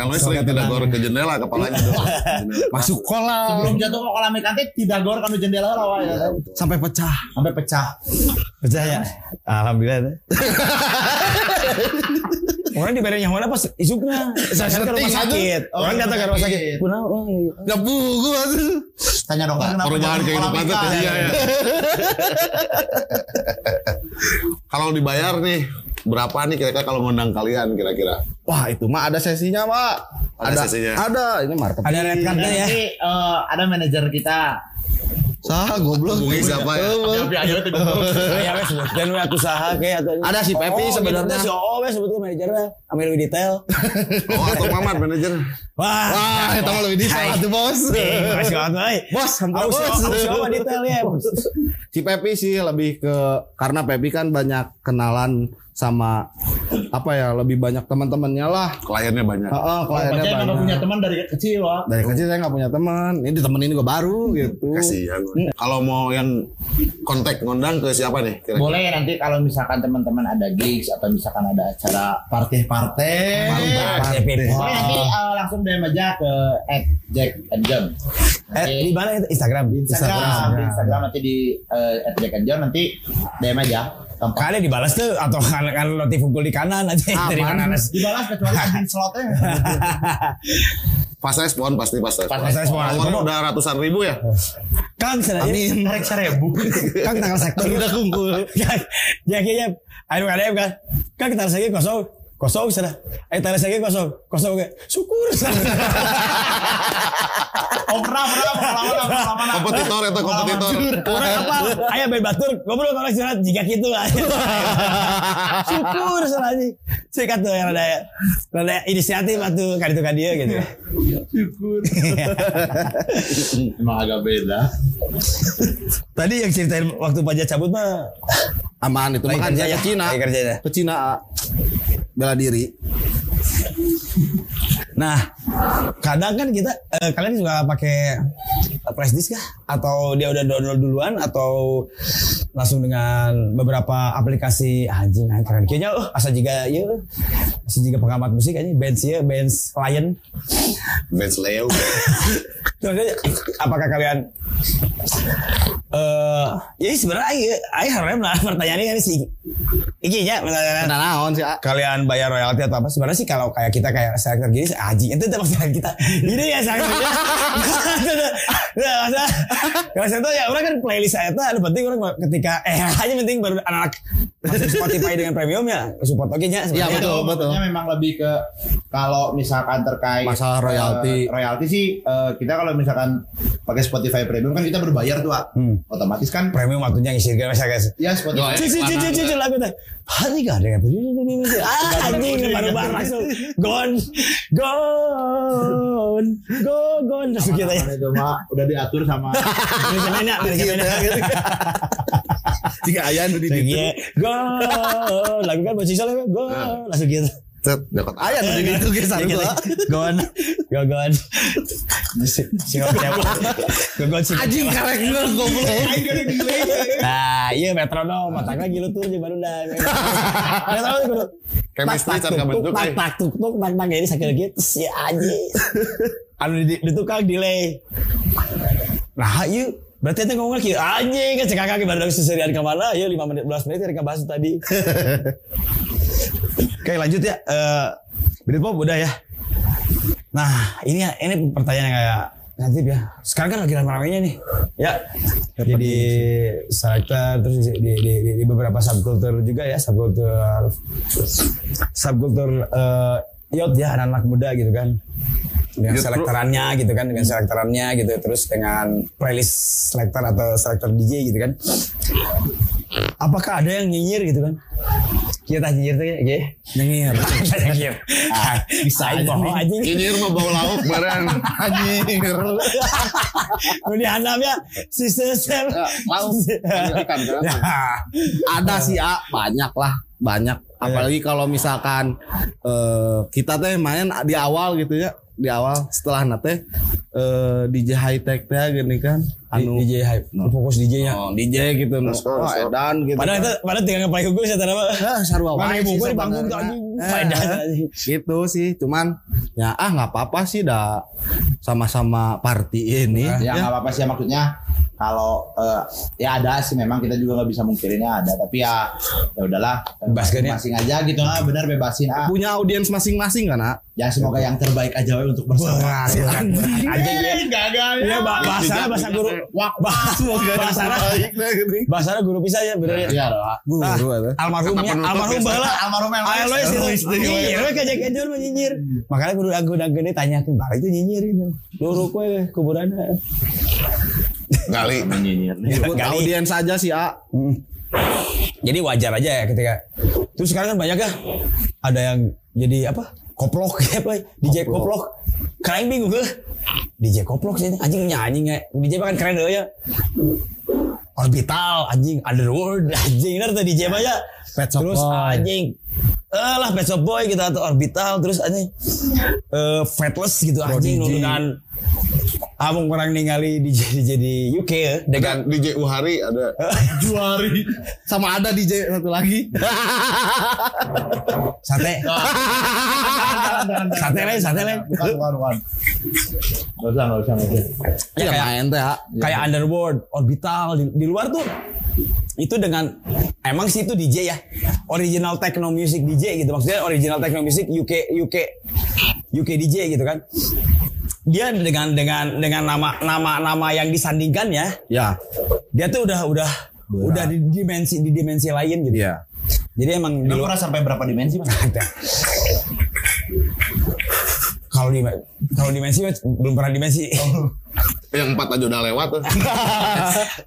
S3: Elnoy sering tidak gor ke jendela kepalanya
S1: [LAUGHS]
S3: doang.
S1: Masuk kolam
S4: Belum jatuh ke kolam ikan teh tidak gor kanu jendela lawa
S2: Iya.
S4: ya.
S1: sampai pecah.
S4: Sampai pecah.
S2: Percaya. ya? Alhamdulillah. Orang di barangnya mana pas isukna. Saya ke rumah
S1: setting
S2: sakit.
S4: Oh,
S2: Orang datang ke rumah sakit. Kunaon? Oh, iya, iya.
S1: Debu gua tuh.
S4: Tanya dokter kenapa
S3: Perubahan
S4: jatuh ke kolam
S3: kehidupan tuh
S4: ikan?
S3: iya
S1: [LAUGHS]
S3: ya. Kalau dibayar nih berapa nih kira-kira kalau ngundang kalian kira-kira?
S1: Wah, itu mah ada sesinya, Pak.
S3: Ada sesinya.
S1: Ada, ini market.
S2: Ada red
S4: Dan
S2: cardnya ya.
S4: Nanti eh, ada manajer kita.
S1: Sah, goblok.
S3: Hubungi siapa ya?
S4: Tapi ayo itu
S2: Ayah iya, wes sebutkan we aku saha kayak atau
S1: Ada si Pepi
S2: Oh,
S1: sebenarnya.
S2: gitu, Si Oo wes sebutkan manajernya ambil lebih detail.
S3: Oh atau Mamat manajer?
S2: Wah.
S1: Wah, itu mah lebih detail
S2: Hai.
S1: atuh, Bos.
S2: Eh, Makasih banget, Mai.
S1: Bos, hampir
S2: Aku
S1: bos.
S2: si Oma detail ya. Bos.
S1: Si Pepi sih lebih ke karena Pepi kan banyak kenalan sama apa ya, lebih banyak teman-temannya lah.
S3: Kliennya banyak.
S1: Heeh, kliennya
S4: Pacarnya nggak punya
S1: banyak.
S4: teman dari kecil wah.
S1: Dari kecil saya nggak punya teman. Ini ditemenin juga baru gitu.
S3: Kasihan. Kalau mau yang kontak ngundang ke siapa nih? Kira-kira?
S4: Boleh nanti kalau misalkan teman-teman ada gigs atau misalkan ada acara party-party.
S2: Mas Pepi.
S4: Boleh nanti eh, langsung DM aja ke @jackandjohn.
S2: Eh, di mana itu? Instagram.
S4: Instagram, di Instagram nanti di uh, @jackandjohn nanti DM aja. Tempat.
S2: Kalian dibalas tuh atau [LAUGHS] kan kan notif unggul di kanan aja dari mana [LAUGHS] Nes?
S4: Dibalas kecuali admin slotnya.
S3: Fast respon pasti fast respon.
S2: Fast respon.
S3: Awalnya udah ratusan ribu ya?
S2: Kang sana ini
S4: Tarik seribu.
S2: Kang Kan, tanggal
S1: [LAUGHS]
S2: sektor udah kumpul. [LAUGHS] Ya kayaknya aduh ada kan. Kang tanggal sektor kosong. Kosong sana. Eh tanggal sektor kosong. Kosong ge. Syukur sana.
S4: Oh pernah pernah pengalaman pengalaman.
S3: Kompetitor itu kompetitor.
S2: Orang
S3: [LAUGHS]
S2: apa? Ayah main batur, ngobrol kalau curhat jika gitu lah. [LAUGHS] Syukur sana aja. Sikat tuh yang ada ada inisiatif atuh kan itu kan dia gitu.
S4: Emang agak beda.
S2: [LAUGHS] Tadi yang ceritain waktu pajak cabut mah
S1: Aman itu
S2: Lagi
S1: makan
S2: kerja
S1: saya
S2: ya?
S1: ke Cina.
S2: Lagi kerja ya?
S1: Ke Cina A. bela diri.
S2: Nah, kadang kan kita eh, kalian juga pakai eh, flash disk kah? Atau dia udah download duluan atau langsung dengan beberapa aplikasi anjing anjing keren kayaknya oh, asa juga ya asa juga pengamat musik aja bands ya bands client
S3: Benz Leo.
S2: Terus aja, apakah kalian eh ya sebenarnya ayo ayo harusnya nah, pertanyaannya kan si iki ya pertanyaan
S1: Nah, naon sih, A?
S2: kalian bayar royalti atau apa sebenarnya sih kalau kayak kita kayak selektor gini sih, aji itu tetap jalan kita [LAUGHS] ini ya selektor ya [LAUGHS] nggak usah nggak usah tuh ya orang kan playlist saya tuh ada penting orang ketika eh hanya penting baru anak masuk Spotify dengan premium ya support oke nya
S1: Iya,
S2: sebenarnya.
S1: betul, betul.
S4: Maksudnya memang lebih ke kalau misalkan terkait
S1: Masalah royalti.
S4: eh, royalti sih eh, kita kalau misalkan pakai Spotify Premium premium kan kita berbayar tuh ah.
S2: Hmm.
S4: otomatis kan
S2: Premium waktunya ngisi guys guys.
S4: ya Spotify
S2: Cuci cuci cuci cuci lagu teh. Hari gak ada yang Ah anjing baru baru langsung gone gone go gone langsung kita ya.
S4: Mana itu mah udah diatur sama
S2: Nanya nanya.
S1: Jika ayah nu di ditu.
S2: Iya, gol. Lagu kan bocil soalnya gol. Langsung gitu.
S3: Cet, dekat ayah tuh di situ guys.
S2: Iya, gitu. Gon, go gon. Si- Si Gon siapa? Go gon si.
S1: Anjing karek gue goblok.
S2: Nah, iya metronom, matang lagi lu tuh baru
S1: [LAUGHS]
S2: dah. Metronom tuh kudu.
S3: Chemistry
S2: tak,
S3: can kabentuk.
S2: tak,
S3: eh.
S2: tak, tuk, tuk, tak, tak, ini sakit lagi, si aji. [LAUGHS] Anu di, di tukang delay. Nah, yuk. Berarti itu ngomong lagi, anjing kan cekak kaki baru dari seserian ke mana? Ya 5 menit, 12 menit dari bahas [LAUGHS] tadi. Oke lanjut ya, Eh, Britpop udah ya. Nah ini ini pertanyaan yang kayak sensitif ya. Sekarang kan lagi rame-ramenya nih. Ya. Jadi iya. selector terus di, di, di, di beberapa subculture juga ya subculture subkulture eh yacht ya anak-anak muda gitu kan. Dengan
S3: Youth group.
S2: selektorannya gitu kan, dengan selektorannya gitu, terus dengan playlist selektor atau selektor DJ gitu kan. Apakah ada yang nyinyir gitu kan? Kita nyinyir tuh ya, [LAUGHS] kayak
S1: Nyengir.
S2: Anjir. Bisa aja bohong anjing. [LAUGHS]
S3: Nyinyir mah bau lauk bareng. Anjir.
S2: Lu dihantam ya. Si sesel.
S1: lauk. Ikan, kan?
S2: [LAUGHS]
S1: ada sih A banyak lah banyak apalagi kalau misalkan eh, kita teh main di awal gitu ya di awal setelah nate eh, DJ high tech teh gini kan anu
S2: DJ hype. Fokus DJ-nya.
S1: oh, DJ gitu nu
S3: Terus, terus,
S1: oh,
S3: terus.
S1: edan gitu
S2: Padahal
S1: kan.
S2: itu padahal tinggal ngepakai gue saya terima.
S1: Eh, sarua
S2: Mana
S1: wae
S2: ibu
S1: sih
S2: gue di panggung tuh
S1: sebenarnya.
S2: anjing.
S1: Eh,
S2: Padahal.
S1: gitu sih cuman ya ah nggak apa-apa sih dah sama-sama party ini
S4: ya
S1: ya.
S4: nggak apa-apa sih maksudnya kalau eh, ya ada sih memang kita juga nggak bisa mungkirinnya ada tapi ya ya udahlah
S2: Bebaskan ya.
S4: masing aja gitu ah benar bebasin ah
S1: punya audiens masing-masing kan nak
S4: ya semoga yang terbaik aja we untuk
S2: [LAUGHS]
S4: bersama
S2: Anjing ya. Gagal. Iya, ba- bahasanya bahasa guru. Wah, bahasa bahasa guru bisa ya bener ya.
S4: Iya lah
S2: Nah,
S1: Guru ada.
S2: almarhumnya
S3: Kata penutup
S2: almarhum
S3: biasa.
S2: baheula
S4: almarhum yang
S2: Ayo
S4: lain.
S2: Lois itu. Iya, Hmm. we kajak kajak mah nyinyir. Makanya kudu aku dan gede tanyakeun bari itu nyinyir ini. Luru kowe kuburanna.
S3: Gali.
S4: Nyinyir.
S1: Ikut
S2: Gali.
S1: audiens aja sih ah. A
S2: Jadi wajar aja ya ketika terus sekarang kan banyak ya ada yang jadi apa koplok [LAUGHS] ya apa DJ koplok keren bingung ke DJ koplok sih anjing nyanyi nggak DJ mah kan keren deh ya orbital anjing underworld [LAUGHS] anjing ntar tuh DJ mah ya
S1: Pet Shop
S2: terus
S1: Boy.
S2: anjing eh lah Pet Shop Boy gitu atau orbital terus anjing eh fatless gitu anjing
S1: Prodigy.
S2: dengan Abang kurang ningali DJ DJ di UK ya
S1: [LAUGHS]
S2: dengan
S3: Dan DJ Uhari ada.
S1: Juari sama ada DJ satu lagi.
S2: sate
S1: [LAUGHS]
S4: Ah,
S2: sate lain sate lain
S4: Bukan bukan bukan. Gak usah gak usah gak usah.
S1: ya
S2: kayak-
S1: main teh. A.
S2: kayak underworld orbital di, di luar tuh itu dengan emang sih itu DJ ya original techno music DJ gitu maksudnya original techno music UK UK UK DJ gitu kan dia dengan dengan dengan nama nama nama yang disandingkan ya
S1: Ya.
S2: dia tuh udah udah udah di dimensi di dimensi lain gitu
S1: Iya.
S2: jadi emang di
S4: Lu
S2: luar
S4: pernah sampai berapa dimensi mas?
S2: ada. Kalau di kalau dimensi belum pernah dimensi.
S3: Yang empat aja udah lewat. tuh.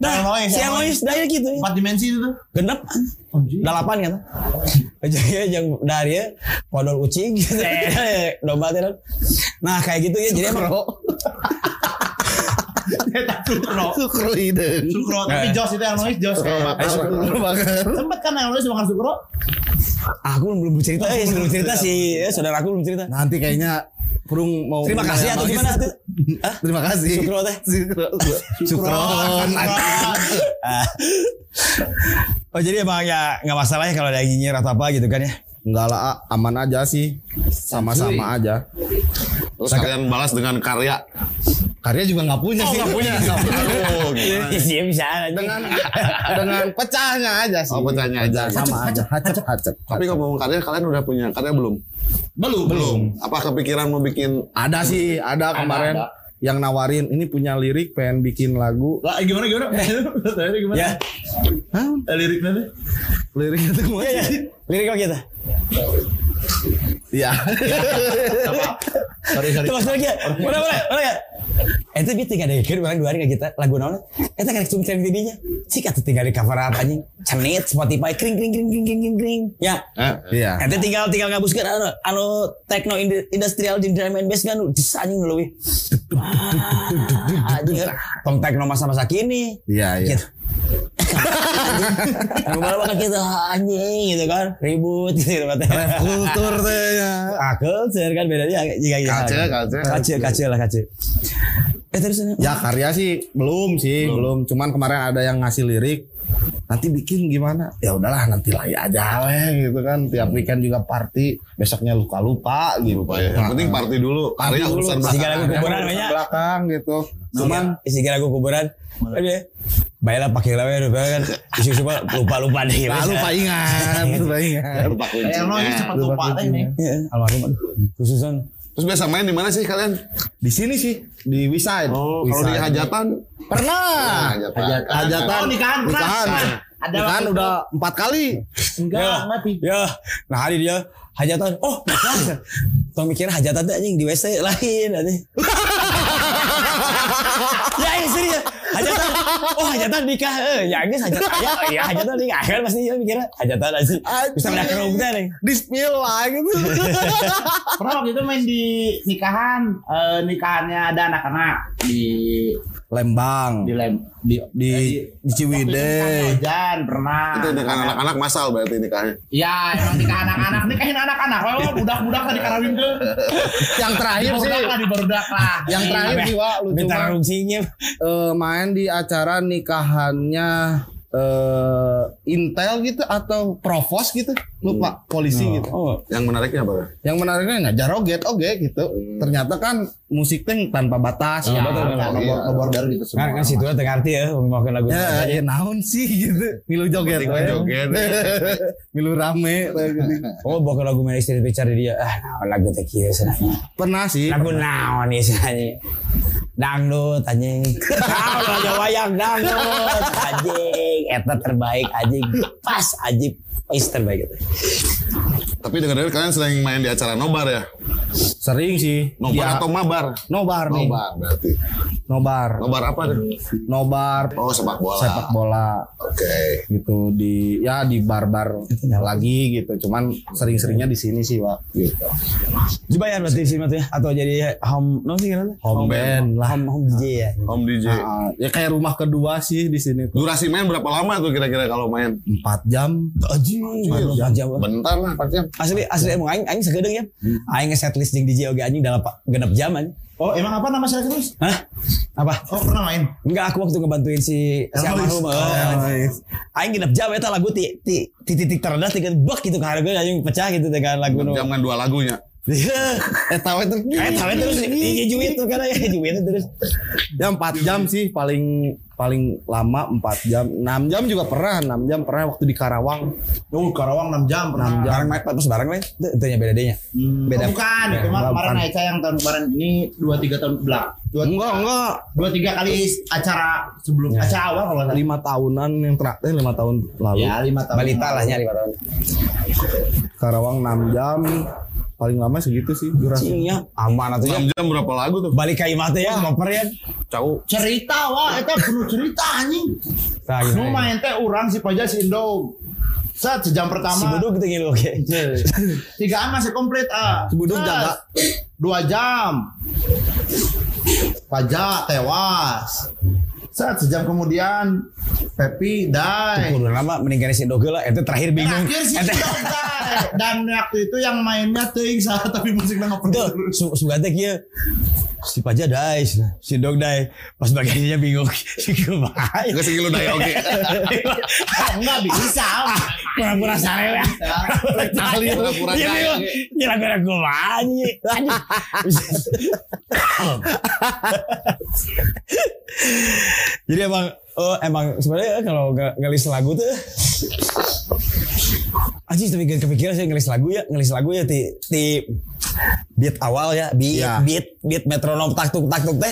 S2: Dah,
S4: Elois,
S2: si Elois
S4: Elois.
S2: dah ya gitu.
S4: Empat dimensi itu tuh.
S2: Genep. Dah lapan [LAUGHS] kata. Jadi yang dari ya podol [LAUGHS] ucing gitu. [LAUGHS] domba teh. dong. Nah, kayak gitu ya. Jadi emang
S4: Sukro.
S1: Sukro ide.
S4: Sukro. Tapi Jos itu yang noise Jos. Eh,
S1: Sukro bakar.
S4: Sempet kan yang noise makan Sukro.
S2: ah, aku belum cerita eh belum cerita si eh, saudara aku belum cerita.
S1: Nanti kayaknya Kurung mau
S2: Terima kasih atau gimana tuh? Hah?
S1: Terima kasih.
S2: Sukro teh.
S1: Sukro. Sukron.
S2: Ah. Oh jadi emang ya nggak masalah ya kalau ada yang nyinyir atau apa gitu kan ya.
S1: Enggak lah, A. aman aja sih. Sama-sama aja.
S3: Terus kalian balas dengan karya.
S1: Karya juga nggak
S2: Oh,
S1: punya sih.
S3: [LAUGHS] punya. Oh, gimana?
S2: [LAUGHS] Iya bisa aja.
S1: Dengan
S2: [LAUGHS]
S1: dengan pecahnya aja sih.
S3: Oh, pecahnya aja.
S1: Sama aja. Hacep hacep.
S3: Tapi ngomong karya kalian udah punya karya belum?
S4: Belum. Belum.
S3: Apa kepikiran mau bikin
S1: Ada sih, ada kemarin
S4: ada.
S1: yang nawarin ini punya lirik pengen bikin lagu
S4: Lah eh, gimana gimana? [LAUGHS] Tadi gimana?
S2: Ya.
S1: Hah?
S4: Eh, Liriknya tuh.
S1: Liriknya [LAUGHS] tuh
S2: Iya ya. Lirik kok gitu.
S1: Iya.
S4: Sorry sorry.
S2: Itu maksudnya kayak, udah boleh, boleh ya? Itu dia tinggal di akhir barang dua hari nggak kita lagu naon. Itu kan cuma cerita dirinya. Cik atau tinggal di cover apa anjing? Cenit Spotify kring kring kring kring kring kring kring. Ya.
S3: eh?
S1: Iya.
S2: Itu tinggal tinggal ngabuskeun anu anu techno indu- industrial di drum and bass kan dis anjing nu leuwih. Anjing tong techno masa-masa kini.
S1: Iya, iya.
S2: Gitu. [LAUGHS] Anu malah bakal gitu anjing gitu kan ribut gitu
S1: Rap
S2: katanya.
S1: kultur teh ya.
S2: Ah, culture kan bedanya jika jika
S3: Culture, culture.
S2: kacil kacil lah kacil. Eh terus ini-
S1: Ya karya sih belum sih, belum. Cuman kemarin ada yang ngasih lirik. Nanti bikin gimana? Ya udahlah nanti lagi aja weh gitu kan. Tiap weekend juga party, besoknya lupa lupa gitu.
S3: Lupa ya. Yang penting party dulu. Karya
S1: Dulu,
S3: urusan
S1: sehingga
S3: belakang.
S2: lagu
S1: lagu
S2: kuburan
S1: urusan
S2: banyak.
S1: belakang gitu. Cuman
S2: isi gara aku kuburan. Tapi ya, baiklah pakai lawe udah baik kan. Isu isu lupa lupa deh.
S1: lalu lupa
S2: [LAUGHS]
S1: ingat, lupa ingat.
S3: Nah, Lupa
S4: Eh, lo ini
S3: kuncinya.
S4: cepat lupa teh nih.
S2: Iya, almarhum khususan.
S3: Terus biasa main di mana sih kalian?
S1: Di sini sih di Wiside.
S3: Oh, kalau di
S1: Wiside.
S3: hajatan
S1: Pernah.
S3: Hajatan. Kan.
S1: Hajatan. Hajatan.
S4: Oh, nikahan pernah.
S1: Nikahan.
S4: Ada
S1: Nikahan
S4: waktu itu.
S1: udah empat kali.
S2: Ya, ya. Nah hari dia hajatan. Oh, nah. Tong mikir hajatan teh anjing di WC lain anjing. [LAUGHS] ya yang serius hajatan oh hajatan nikah eh ya ini hajatan ya, ya hajatan nikah kan pasti dia mikirnya hajatan anjing bisa ngeliat kerumnya nih
S1: Di spill lah gitu.
S4: Pernah waktu itu main di nikahan, eh, nikahannya ada anak-anak di
S1: Lembang.
S4: di lem di
S1: Di, di
S4: Waktu itu nikahan
S1: Ciwidey.
S4: Ojan pernah.
S3: itu dengan anak-anak masal berarti nikahnya.
S4: Ya, emang nikah anak-anak, nikahin anak-anak. Wah, wah, budak-budak lah dikarawin ke.
S1: Yang terakhir Iya sih.
S4: Budak lah, di berdak lah. Iya,
S1: Yang terakhir sih Wak, lucu
S2: bentar
S1: banget.
S2: rungsingnya
S1: Eh, main di acara nikahannya eh Intel gitu atau Provos gitu
S3: Hmm.
S1: lupa polisi gitu
S2: oh
S3: Yang menariknya apa?
S1: yang menariknya nggak jaroget oke gitu
S3: Hmm.
S1: ternyata kan musiknya tanpa
S3: Ah,
S1: batas ya,
S4: Nah,
S3: Iya.
S4: nomor nomor baru gitu semua.
S3: Nah,
S2: kan kan situ teh ngerti ya ngomongin lagu
S1: ya,
S2: ya,
S1: ya naon sih gitu milu joget
S3: Penting
S1: we.
S3: joget. ya.
S1: [LAUGHS] milu rame we, gitu.
S2: oh bawa lagu main istri pacar di dia ah naon lagu teh kieu cenah.
S1: pernah sih
S2: lagu naon istilahnya dangdut [LAUGHS] anjing naon lagu wayang dangdut anjing eta terbaik anjing pas anjing is terbaik itu
S3: [LAUGHS] Tapi dengar-dengar kalian sering main di acara nobar ya?
S1: sering sih Ya,
S3: Nobar atau mabar?
S1: nobar nih
S3: Nobar berarti.
S1: nobar
S3: Nobar apa? tuh?
S1: nobar
S3: Oh sepak bola.
S1: sepak bola
S3: Oke.
S1: gitu di ya di barbar
S2: Iya.
S1: lagi gitu cuman sering-seringnya di sini sih pak gitu
S2: dibayar berarti sih Mat, ya atau jadi home no sih kenapa
S1: home band lah
S2: home home DJ ya
S3: Om DJ.
S1: Ah, ya kayak rumah kedua sih di sini tuh
S3: Durasi main berapa lama tuh kira-kira kalau main?
S1: empat jam
S2: anjing mantap jauh
S3: Bentar lah, 4 jam.
S2: asli asli emang aing aing segedeng ya aing setlist jeung DJ oge anjing dalam pa- genep jam anjing
S4: Oh, emang apa nama saya terus?
S2: hah apa
S4: Oh, pernah main.
S2: Enggak, aku waktu ngebantuin si si almarhum. eh. Aing nginep jam eta lagu ti ti ti titik terendah tiga bek gitu ke harga aing pecah gitu dengan lagu nu.
S3: Jam kan dua lagunya.
S1: [LAUGHS] eh tahu itu
S2: Iya. Eh tapi terus dijuit tuh karena ya dijuit terus.
S1: ya empat jam sih paling paling lama empat jam enam jam juga pernah enam jam pernah waktu di Karawang
S4: Oh, Karawang 6 jam pernah.
S2: Barang main pas barang main itu itu nya beda dehnya. Beda.
S4: Oh, bukan, itu mah kemarin Aica yang tahun kemarin ini 2 3 tahun belak.
S1: enggak enggak
S4: dua tiga kali acara sebelum acara awal kalau nggak salah.
S1: lima tahunan yang terakhir lima tahun lalu
S2: Iya.
S4: ya lima tahun
S2: Balita lah nyari tahun.
S1: Karawang enam jam paling lama segitu sih durasi
S2: Cing ya aman atuh ya.
S3: 6 jam berapa lagu tuh?
S2: Balik ka imah teh ya ngoper ya.
S3: Cau.
S4: cerita wah itu penuh cerita anjing
S2: Nah,
S1: Iya.
S4: nu
S2: gimana?
S4: main teh orang si paja si indo saat sejam pertama Iya.
S2: Si bodoh gitu gitu oke.
S4: tigaan masih komplit ah
S1: Si Buduk
S4: Set,
S1: jaga.
S4: dua jam pajak tewas saat sejam kemudian Pepi die
S2: Kudu lama meninggalin si Doge lah. Itu terakhir bingung.
S4: terakhir si
S2: Eta-
S4: Indo die dan waktu itu yang mainnya ting saat tapi musiknya nggak
S2: Betul.
S4: pernah terus
S2: Su suka teh kieu. Si Paja dai, si si Dog dai. Pas bagasinya bingung. [LAUGHS] Si kumaha.
S3: Enggak sih lu daya oke.
S2: [LAUGHS]
S4: Eh, nggak bisa
S2: Kurang-kurang sare ya.
S3: Ahli pura-pura
S2: Dia
S3: dai.
S2: bingung. Dia gara-gara kumaha anjing. Anjing. [LAUGHS] Jadi emang eh, emang sebenarnya kalau nge- ngelis lagu tuh Anjing tapi gak kepikiran saya ngelis lagu ya, ngelis lagu ya ti ti beat awal ya, beat
S1: Ya.
S2: beat beat metronom tak tuk tak tuk teh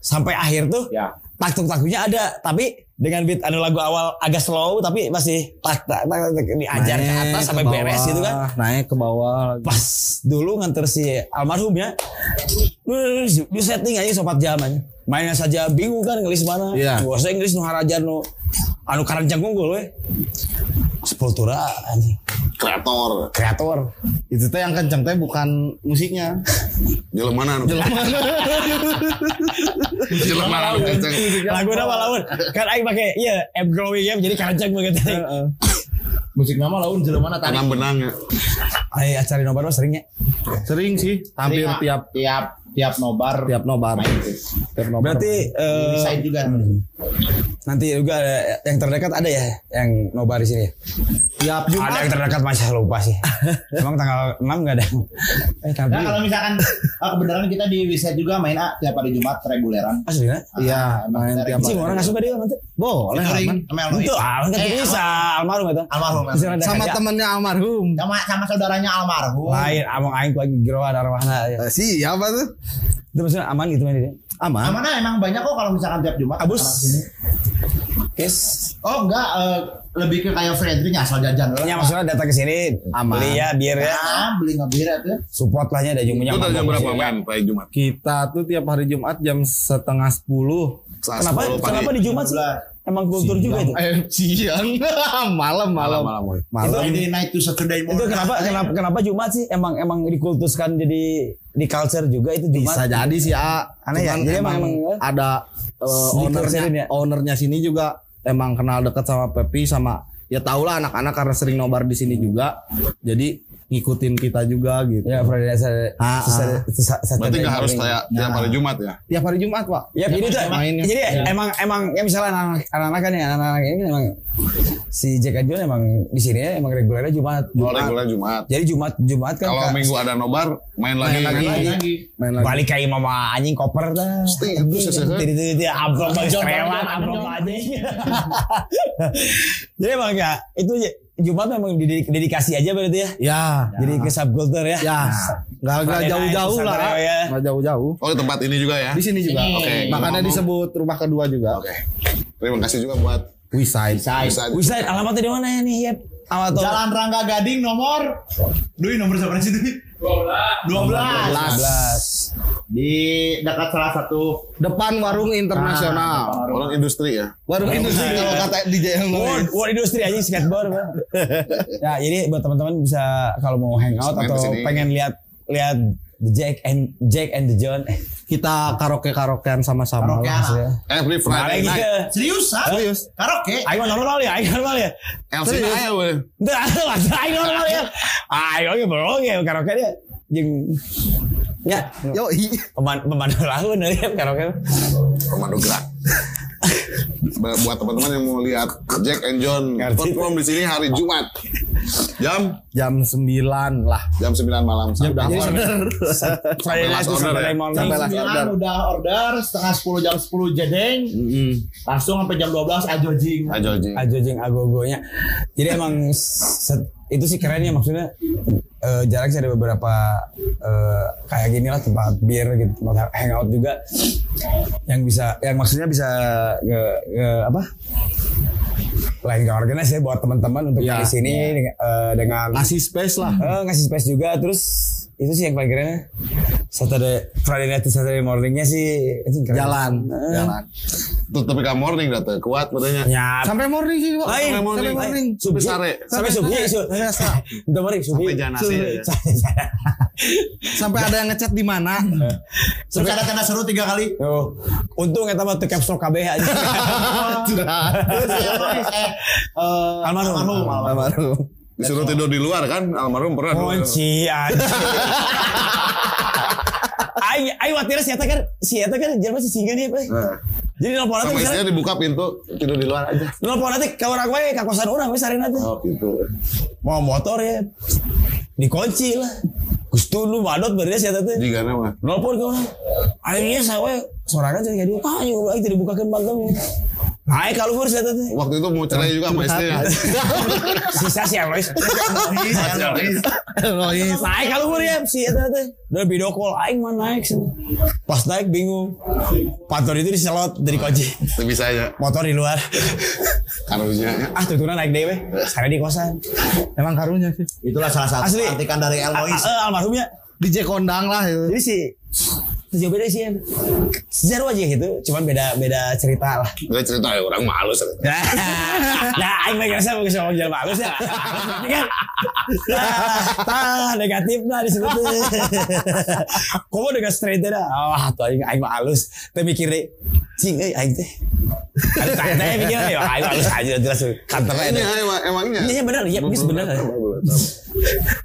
S2: sampai akhir tuh.
S4: Ya.
S2: Tak tuk taktuknya ada, tapi dengan beat anu lagu awal agak slow tapi masih tak tak, tak, tak, diajar ke
S1: Naik
S2: atas
S1: ke
S2: sampai beres kan.
S1: bawah,
S2: gitu kan.
S1: naik ke bawah lagi.
S2: Pas dulu nganter si almarhum ya. Terus di setting aja sobat jaman. Mainnya saja bingung kan ngelis mana.
S1: Iya.
S2: Gua saya Inggris nu harajan nu anu karanjang unggul we. Sepultura anjing.
S3: kreator
S2: Kreator.
S1: Itu teh yang kenceng teh bukan musiknya.
S3: jalan mana anu? [LAUGHS] jalan mana anu kenceng
S2: Lagu nama lawan. Kan aing pakai iya app growing ya jadi karanjang banget.
S4: Musik nama laun jelema mana tadi?
S3: tanam benang ya
S2: Ayo acara nobar mah seringnya.
S1: Sering sih, hampir
S4: Terima-
S1: tiap
S4: tiap tiap nobar
S1: tiap nobar.
S4: main tuh.
S1: Tiap nobar.
S2: Berarti eh,
S4: Desain juga.
S2: nanti juga ada yang terdekat ada ya yang nobar di sini. ya?
S1: tiap
S2: Ada
S1: Jumat
S2: yang terdekat masih lupa sih. Emang tanggal 6 enggak ada. Eh
S4: Nah,
S2: tanggal
S4: kalau
S2: [LAUGHS]
S4: misalkan ah, kebenaran kita di Wisat juga main ah, tiap hari Jumat reguleran.
S2: 7. Asli kan?
S1: Iya, main tiap
S2: Cing orang enggak suka dia nanti.
S1: boleh aman.
S4: Melwi.
S2: Itu ah kan
S4: Eh,
S2: bisa almarhum itu.
S4: Almarhum.
S2: Bisa ada
S1: Sama
S2: kaca.
S1: temennya almarhum.
S4: Sama sama saudaranya almarhum.
S2: lain among aing lagi geroan arwahna ya.
S1: Eh, Siapa tuh?
S2: Itu maksudnya aman gitu main dia.
S1: Aman.
S4: Amana emang banyak kok kalau misalkan tiap Jumat.
S2: Abus.
S4: orang kesini.
S2: Kes.
S4: Oh enggak, eh, lebih ke kayak Fredrik asal jajan.
S2: Ya maksudnya datang ke sini
S1: Aman.
S2: beli ya biar ya
S4: Ah, beli ngebir tuh.
S2: support lahnya ada jumunya.
S3: itu dari jam
S2: mampu
S3: berapa
S2: sih.
S3: men Pak Jumat
S1: Kita tuh tiap hari Jumat jam setengah sepuluh.
S3: Saat
S2: Kenapa
S3: 10 pagi.
S2: kenapa di Jumat sih? Emang kultur juga itu.
S1: Eh siang, [LAUGHS] malam malam
S3: Malam, malam.
S1: malam.
S4: Friday night to Saturday
S2: Itu
S4: morning.
S2: kenapa kenapa
S1: ya.
S2: kenapa Jumat sih emang emang dikultuskan jadi di culture juga itu Jumat.
S1: Bisa jadi sih A.
S2: Aneh ya?
S1: Cuman
S2: Jadi
S1: emang,
S2: emang-
S1: ada eh,
S2: Sedikit
S1: ownernya
S2: sini ya?
S1: ownernya sini juga emang kenal deket sama Pepi sama ya tau lah anak-anak karena sering nobar di sini juga. Jadi ngikutin kita juga gitu.
S2: Ya Friday night Saturday.
S1: Ah, ah.
S2: Saturday- Saturday
S3: berarti nggak harus
S2: morning.
S3: kayak tiap hari Jumat ya
S1: Tiap hari Jumat, Pak.
S2: Ya, jadi itu
S1: mainnya.
S2: jadi
S3: Iya.
S2: emang emang ya misalnya anak-anak anak-anak kan ya anak-anak ini emang si Jack and John emang di sini ya emang regulernya Jumat
S3: oh
S2: Jumat.
S3: reguler Jumat
S2: Jadi Jumat Jumat kan
S3: kalau
S2: Kak,
S3: minggu ada nobar main
S4: Iya,
S3: lagi
S1: Main lagi.
S4: Main lagi.
S1: Main lagi.
S2: balik kayak mama anjing koper dah.
S3: Pasti, itu sesuai.
S2: Tidak-tidak amplop bang
S4: John,
S2: lewat
S4: John,
S2: amplop
S4: John.
S2: aja. [LAUGHS] Jadi emang ya itu ya, Jumat memang didedik- dedikasi aja berarti ya.
S1: Ya,
S2: Jadi ke subculture ya.
S1: ya. Nggak nggak
S2: Friday night
S1: jauh-jauh
S2: to
S1: lah.
S2: Saturday, ya.
S1: Nggak jauh-jauh.
S3: oh di tempat ini juga ya
S1: Di sini juga.
S4: Sini.
S1: Oke. Makanya
S3: Ngomong-ngomong.
S1: disebut rumah kedua juga.
S3: oke terima kasih juga buat
S1: Wisai.
S3: Ustaz.
S2: Wisaid alamatnya di mana ya nih? Yep. Alamat
S4: Jalan Rangga Gading nomor Dui nomor berapa sih Dui? 12. 12. Di dekat salah satu
S1: Depan warung internasional.
S3: orang industri ya
S1: Ah. Warung industri kalau kata DJ yang lain.
S2: World, World Industry aja skateboard. Bang. ya, jadi buat teman-teman bisa kalau mau hangout
S3: Main
S2: atau
S3: kesini.
S2: pengen lihat lihat The Jack and Jack and the John. Eh,
S1: Kita karaoke-karaokean sama-sama.
S4: Karaokean.
S1: lah.
S2: maksudnya.
S3: every
S2: Balik
S3: Eh, Friday
S2: lagi
S3: night
S2: ke
S4: Serius ah?
S1: Serius.
S4: Karaoke?
S2: Ayo normal ya, ayo normal ya.
S3: LC aja weh
S2: Ntar ada lah, ayo normal ya. Ayo ya bro, ya karaoke dia. Jeng ya
S1: Yo,
S2: peman pemandu lagu nih ya karaoke.
S3: pemandu gerak Ba- buat teman-teman yang mau lihat Jack and John
S2: Ngerti.
S3: perform di sini hari Jumat jam
S1: jam 9 lah.
S3: jam 9 malam
S1: Jam
S3: Sampai
S1: jadi
S3: order.
S1: bener.
S2: Friday night to
S3: last order
S2: Saturday
S3: ya?
S2: morning.
S1: Sampai last order.
S4: Sembilan udah order setengah 10 jam 10 jedeng langsung sampai jam 12 ajojing.
S3: Ayo Ji.
S2: aja jeng agogonya jadi emang set- itu sih keren ya maksudnya eh, jarang sih ada beberapa eh, kayak gini lah tempat bir gitu tempat hangout juga yang bisa yang maksudnya bisa ke, ke- apa lain ke organize ya buat teman-teman untuk
S1: Iya,
S2: di sini dengan, eh, dengan
S1: Ngasih space lah.
S2: eh, ngasih space juga terus itu sih yang paling kerennya Saturday Friday night to Saturday morningnya sih itu keren.
S1: Jalan,
S2: Eh,
S1: jalan.
S3: Tuh, tapi kamu morning dah tuh kuat badannya
S2: nyat
S1: Sampai morning sih, Pak.
S2: Lain,
S1: Sampai
S3: morning.
S1: morning.
S3: Sampai sare.
S2: sampai subuh su- udah mari subuh
S3: Sampai jana sih.
S2: ya. [LAUGHS]
S1: Sampai ada yang ngechat di mana?
S4: Terus ada tanda seru tiga
S2: [LAUGHS]
S4: kali.
S2: Oh, untung eta mah teu capsule kabeh aja.
S4: eh, eh,
S2: [LAUGHS] Almarhum.
S4: almarhum. almarhum.
S1: Baru.
S3: disuruh tidur di luar kan almarhum pernah
S2: Oh, Kunci [LAUGHS] aja. Aing aing watir si eta kan si eta kan jelema si singa nih. Pak.
S3: Nah,
S2: Jadi nelpon nanti
S3: sama
S2: misalnya
S3: istrinya dibuka pintu tidur di luar aja
S2: nelpon nanti ka urang wae ka kosan urang we sarena teh.
S3: oh gitu
S2: Mau motor ya. Dikunci lah. Geus dulu madot bari si eta teh.
S3: jika nama
S2: Nelpon ke orang. Akhirnya saya we sorangan jadi dia. Ah, yuk aing teu dibukakeun bangkem. Aing ka luhur si eta teh.
S3: waktu itu mau cerai juga sama istrinya
S2: Sisa si Alois.
S1: Lois.
S2: naik kalau gue ya si itu itu udah video call aing mah naik sih pas naik bingung motor itu diselot dari kunci
S3: tapi bisa aja
S2: motor di luar
S3: harusnya
S2: ah tentunya naik deh weh saya di kosan
S1: [LAUGHS] Emang karunya sih.
S4: Itulah salah satu
S2: Asli.
S4: antikan dari
S2: ah,
S4: Elmois.
S2: ah, almarhumnya
S1: DJ kondang lah itu.
S2: jadi si terus jawabannya sih Yan. sejarah aja gitu cuman beda beda cerita lah
S3: Gue cerita ya orang malu cerita.
S2: Nah, nah, aing mah ngerasa bagus sama jalan bagus ya. Tapi kan, Nah, tah negatif lah di situ. tuh. Kamu dengan straight ya dah. Wah, tuh aing aing mah halus. Teh mikir deh, cing euy aing teh. Aduh, Teh teh mikir ya aing halus aja jelas kantor aja.
S3: Nah, Ini emang, emangnya.
S2: Iya iya, benar, iya ini sebenarnya.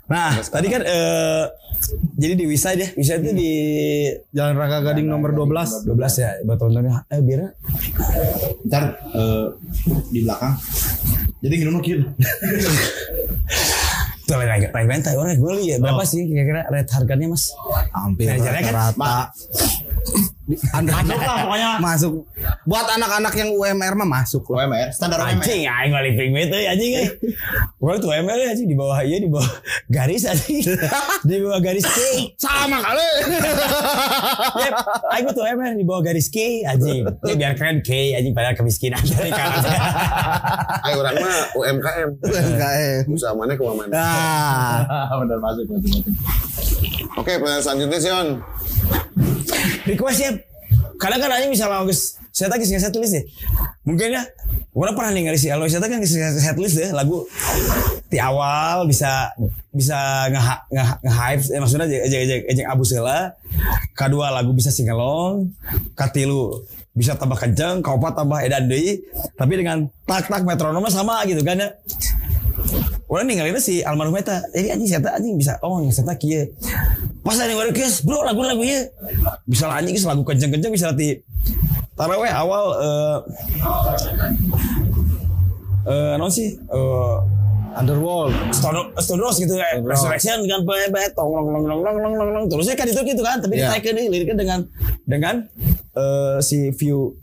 S2: Nah, tadi kan eh jadi di Wisa ya, Wisa itu di
S1: Jalan Rangka Gading nomor 12.
S2: 12 ya, buat teman-teman. Eh, biar
S4: ntar eh, di belakang jadi gini nukin
S2: Tuh lain lain lain orang gue lihat berapa sih kira-kira rate harganya mas?
S1: Hampir
S2: Manajernya kan,
S1: rata-rata. Anda
S4: masuk lah pokoknya
S1: masuk. Buat anak-anak yang UMR mah masuk loh.
S4: UMR standar UMR
S2: Anjing, aing mah living mate euy, anjing euy. Gue tuh ML anjing di bawah iya di bawah garis anjing. Di bawah garis K.
S1: Sama
S2: [LAUGHS]
S1: kali.
S2: Yep, aing mah tuh ML di bawah garis K anjing. Ya biar keren K anjing padahal kemiskinan dari kanan.
S3: Ayo orang mah UMKM.
S1: UMKM.
S3: Usaha mana kemana?
S1: [LAUGHS] Nah,
S4: [LAUGHS] bener masuk masuk masuk
S3: Oke, pertanyaan selanjutnya Sion.
S2: Request ya. Kadang kan anjing misalnya geus saya tadi geus setlist ya. Mungkin ya Gue pernah nih ngarisi Aloy Sata kan ngasih setlist ya lagu di awal bisa bisa nge nge nge hype eh, maksudnya aja aja aja abu sela kedua lagu bisa singalong katilu bisa tambah kenceng kaopat tambah edan deui tapi dengan tak tak metronomnya sama gitu kan ya Orang ninggalinnya si almarhum eta. Jadi anjing siapa anjing bisa oh yang siapa kia. Pas ada yang guys, bro lagu lagu ya. Bisa anjing geus lagu kenceng kenceng bisa di taraweh awal eh eh non sih eh
S1: Underworld.
S2: Stone Stone Rose gitu kayak Resurrection dengan bae bae tong long long long long long long long terusnya kan itu gitu kan tapi
S1: Iya.
S2: ditaikkan nih liriknya dengan dengan eh, si view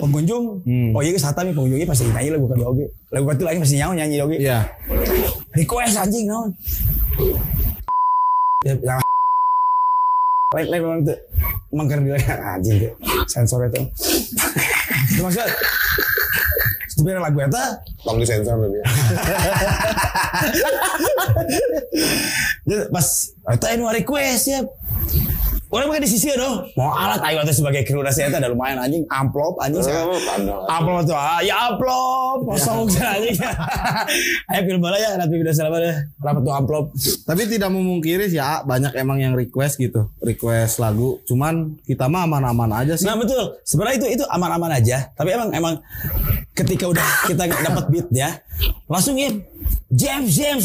S2: pengunjung oh iya sata nih pengunjungnya pasti nyanyi lagu kedua oke lagu kedua lagi pasti nyawa nyanyi oke
S1: Iya.
S2: request anjing naon ya jangan lain lain memang tuh mangker di "Ah, anjing tuh sensor itu Itu maksud sebenarnya lagu itu
S3: Tong di sensor tadi.
S2: pas itu anu request ya Orang pakai di sisi ya dong. Mau alat ayo atau sebagai kru nasi itu ada lumayan anjing amplop anjing. saya- Amplop tuh ah, ya amplop kosong saya anjing. ya?
S1: [LAUGHS]
S2: Ayo film bala ya nanti udah selama deh. Rapat tuh amplop.
S1: Tapi tidak memungkiri sih ya banyak emang yang request gitu, request lagu. Cuman kita mah aman-aman aja sih.
S2: Nah betul. Sebenarnya itu itu aman-aman aja. Tapi emang emang ketika udah kita dapat beat ya, langsung ya jam jam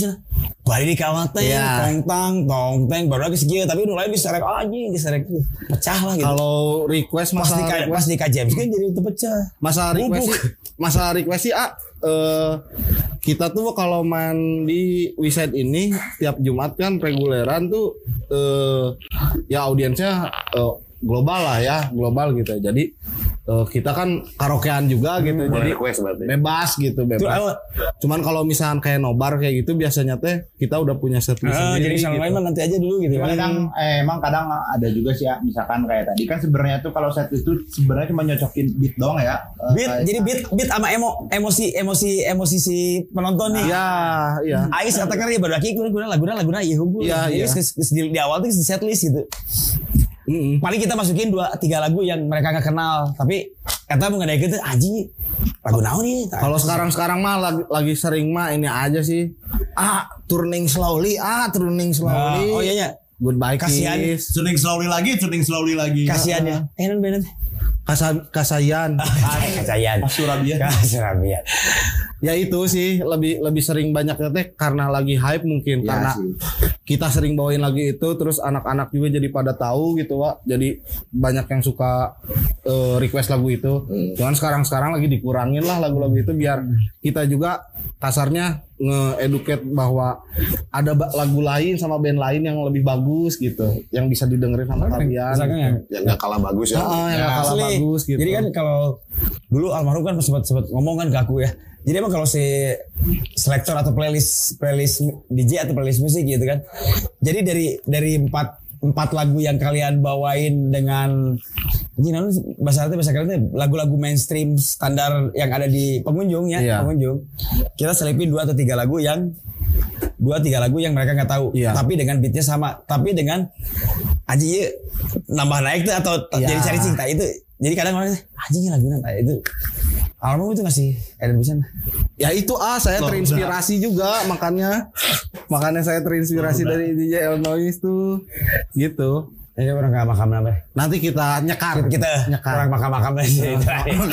S2: Balik di kawat teng,
S1: Iya.
S2: tong tang, tong teng, baru lagi segitu. Tapi udah lain diserek Ah, anjing, diserek pecah lah gitu.
S1: Kalau request
S2: pas
S1: masalah
S2: di
S1: request
S2: pas di jam kan jadi itu pecah.
S1: Masalah request
S2: Bubuk.
S1: sih, masalah request sih ah, eh, kita tuh kalau main di website ini tiap Jumat kan reguleran tuh eh, ya audiensnya eh, global lah ya global gitu jadi eh, kita kan karaokean juga gitu jadi
S3: Hmm, request berarti.
S1: bebas gitu
S2: Itu
S1: bebas
S2: awal.
S1: cuman kalau misalkan kayak nobar kayak gitu biasanya teh kita udah punya setlist
S2: Eh,
S1: sendiri
S2: jadi sama lain
S1: gitu.
S2: mah nanti aja dulu gitu.
S4: Cuman kadang eh, emang kadang ada juga sih ya misalkan kayak tadi kan sebenarnya tuh kalau set itu sebenarnya cuma nyocokin beat dong ya. Eh,
S2: Beat,
S4: kayak-
S2: jadi beat, beat sama emo, emosi, emosi, emosi si penonton nih.
S1: ya ya
S2: Ais katakan ya baru lagi gue guna lagu lagu lagu iya hukum.
S1: Iya, iya.
S2: Di, di awal tuh di setlist gitu.
S1: Mm-mm.
S2: Paling kita masukin dua tiga lagu yang mereka nggak kenal, tapi kata mengenai gitu aji lagu naon nih.
S1: Kalau sekarang-sekarang mah lagi, lagi sering mah ini aja sih. Ah, turning slowly, ah turning
S2: Ah,
S1: slowly.
S2: oh iya iya.
S1: Goodbye
S2: Kasihan.
S1: kiss.
S4: tuning slowly lagi, tuning slowly lagi.
S1: Iya.
S2: Kasihan ya. Eh non bener.
S1: Kasa- kasayan.
S2: Kasihan.
S4: Surabaya.
S2: Kasihan.
S1: ya itu sih lebih lebih sering banyaknya teh karena lagi hype mungkin
S4: Iya
S1: karena
S4: sih.
S1: kita sering bawain lagi itu terus anak-anak juga jadi pada tahu gitu Wak. Jadi banyak yang suka eh, request lagu itu. Cuman sekarang-sekarang lagi dikurangin lah lagu-lagu itu biar kita juga kasarnya nge-educate bahwa ada ba- lagu lain sama band lain yang lebih bagus gitu, yang bisa didengerin sama kalian. gitu.
S2: Misalkan ya,
S3: Ya nggak kalah bagus ya.
S1: Ah, yang gak kalah
S2: Iya, Asli.
S1: bagus gitu.
S2: Jadi kan kalau dulu almarhum kan sempat sempat ngomong kan ke aku ya. Jadi emang kalau si selektor atau playlist playlist DJ atau playlist musik gitu kan. Jadi dari dari empat empat lagu yang kalian bawain dengan ini namanya bahasa Arabnya, bahasa kerennya lagu-lagu mainstream standar yang ada di pengunjung ya
S1: Iya.
S2: pengunjung kita selipin dua atau tiga lagu yang dua tiga lagu yang mereka nggak tahu
S1: Iya.
S2: tapi dengan beatnya sama tapi dengan aji iya nambah naik tuh atau t-
S1: Iya.
S2: jadi cari cinta itu jadi kadang orang anjing lagu nanti itu Almarhum itu ngasih Adam Bisan
S1: Ya itu ah saya
S2: Loh,
S1: terinspirasi juga makanya makanya saya terinspirasi dari DJ El Noise tuh gitu.
S2: Ini orang gak makam apa ya?
S1: Nanti kita nyekar
S2: Kita
S1: nyekar.
S2: orang makam-makam
S1: [LAUGHS]
S2: aja itu aja.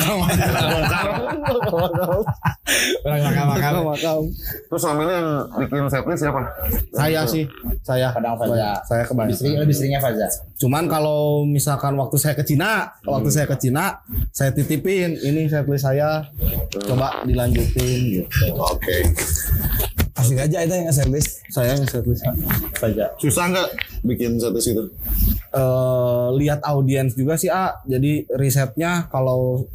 S2: Orang makam-makam
S1: Makam.
S3: Terus selama ini yang bikin setlist siapa?
S1: Saya sih saya
S4: Kadang Faza.
S1: saya
S4: Lebih
S1: kebanyakan.
S4: sering lebih seringnya Faza.
S1: oh, Cuman kalau misalkan waktu saya ke Cina, waktu saya ke Cina, saya titipin ini saya tulis saya coba dilanjutin gitu.
S3: Oke.
S2: Asik aja itu yang service
S1: Saya yang saya tulis.
S4: Faza.
S3: Susah nggak bikin setlist itu?
S1: eh lihat audiens juga sih A. Jadi risetnya kalau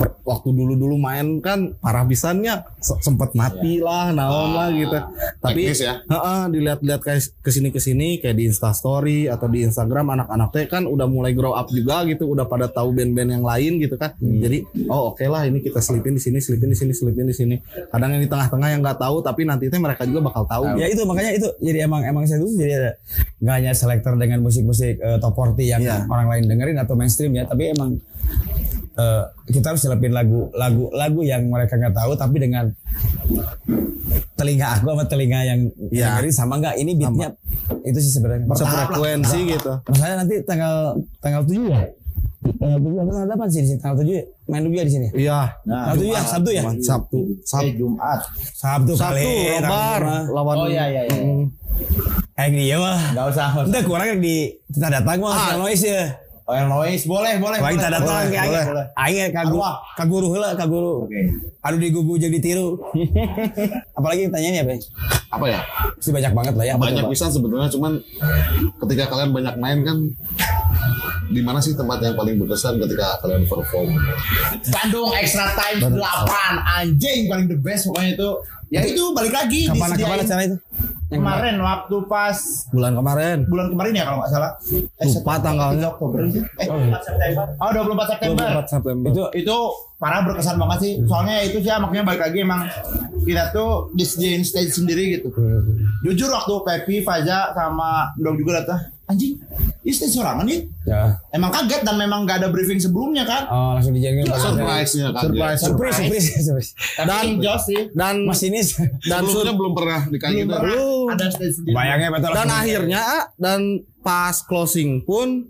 S1: per- waktu dulu-dulu main kan parah pisannya se- sempet mati lah, naon lah gitu. Tapi
S3: teknis ya.
S1: Heeh, dilihat-lihat kayak kesini kesini kayak di Insta Story atau di Instagram anak-anak teh kan udah mulai grow up juga gitu, udah pada tahu band-band yang lain gitu kan. Jadi oh oke lah ini kita selipin di sini, selipin di sini, selipin di sini. Kadang yang di tengah-tengah yang nggak tahu tapi nanti teh mereka juga bakal tahu. Iya,
S2: Ya itu makanya itu jadi emang emang saya tuh jadi ada nggak hanya selektor dengan musik-musik eh, top 40 yang
S1: Iya.
S2: orang lain dengerin atau mainstream ya, tapi emang eh, kita harus nyelipin lagu lagu lagu yang mereka nggak tahu tapi dengan telinga aku sama telinga yang
S1: Iya.
S2: dengerin sama nggak ini beatnya itu sih sebenarnya
S1: Sefrekuensi gitu.
S2: Masalahnya nanti tanggal tanggal 7 ya. Tanggal 7 atau tanggal 8 sih di sini. Tanggal 7 ya? main dulu ya di sini.
S1: Iya.
S4: Nah,
S2: Tanggal 7 ya, Sabtu ya?
S1: Sabtu.
S4: eh, Jumat.
S2: Sabtu kali. ya,
S1: Sabtu Robar lawan Hmm,
S4: Oh iya iya iya.
S2: Kayak ya, dia mah.
S4: Enggak usah. nggak usah.
S2: Udah kurang yang di kita datang mah ah. noise ya.
S4: Oh, yang noise boleh boleh.
S2: Wah,
S4: boleh.
S2: kita datang
S4: Boleh,
S2: ke aing.
S4: boleh, boleh.
S2: Aing kaguru
S4: Arwah.
S2: kaguru heula kaguru.
S4: Oke.
S2: Aduh digugu jadi
S4: [LAUGHS]
S2: tiru. Apalagi yang tanyain apa? ya?
S3: Apa ya?
S2: Pasti banyak banget lah ya.
S3: banyak pisan sebetulnya cuman ketika kalian banyak main kan di mana sih tempat yang paling berkesan ketika kalian perform?
S1: Nah,
S4: Bandung extra time 8 anjing paling the best pokoknya itu. Ya itu balik lagi
S2: Kapan
S4: disediain.
S2: kapan acara itu? Yang
S4: kemarin waktu pas
S1: bulan kemarin.
S4: bulan kemarin ya kalau nggak salah.
S2: Eh,
S1: Lupa
S4: September,
S1: tanggalnya.
S4: 3 Oktober. Eh, 24 September. Oh, 24 September.
S1: 24 September.
S2: Itu
S4: itu parah berkesan banget sih soalnya itu sih ah, makanya balik lagi emang kita tuh disediain stage sendiri gitu jujur waktu Pepi Faza sama Dong juga datang anjing ini stage sorangan nih
S2: ya.
S4: emang kaget dan memang gak ada briefing sebelumnya kan
S2: Oh, langsung dijadiin
S3: Surprise-nya kan.
S1: Surprise.
S3: Ya.
S2: Surprise, surprise, surprise.
S4: tapi enjoy sih
S1: Dan
S2: Mas ini
S4: [LAUGHS]
S1: dan sur-
S3: Sebelumnya belum pernah dikayak
S4: Belum
S3: gitu.
S4: pernah ada stage sendiri
S2: bayangnya betul.
S1: dan akhirnya A, dan pas closing pun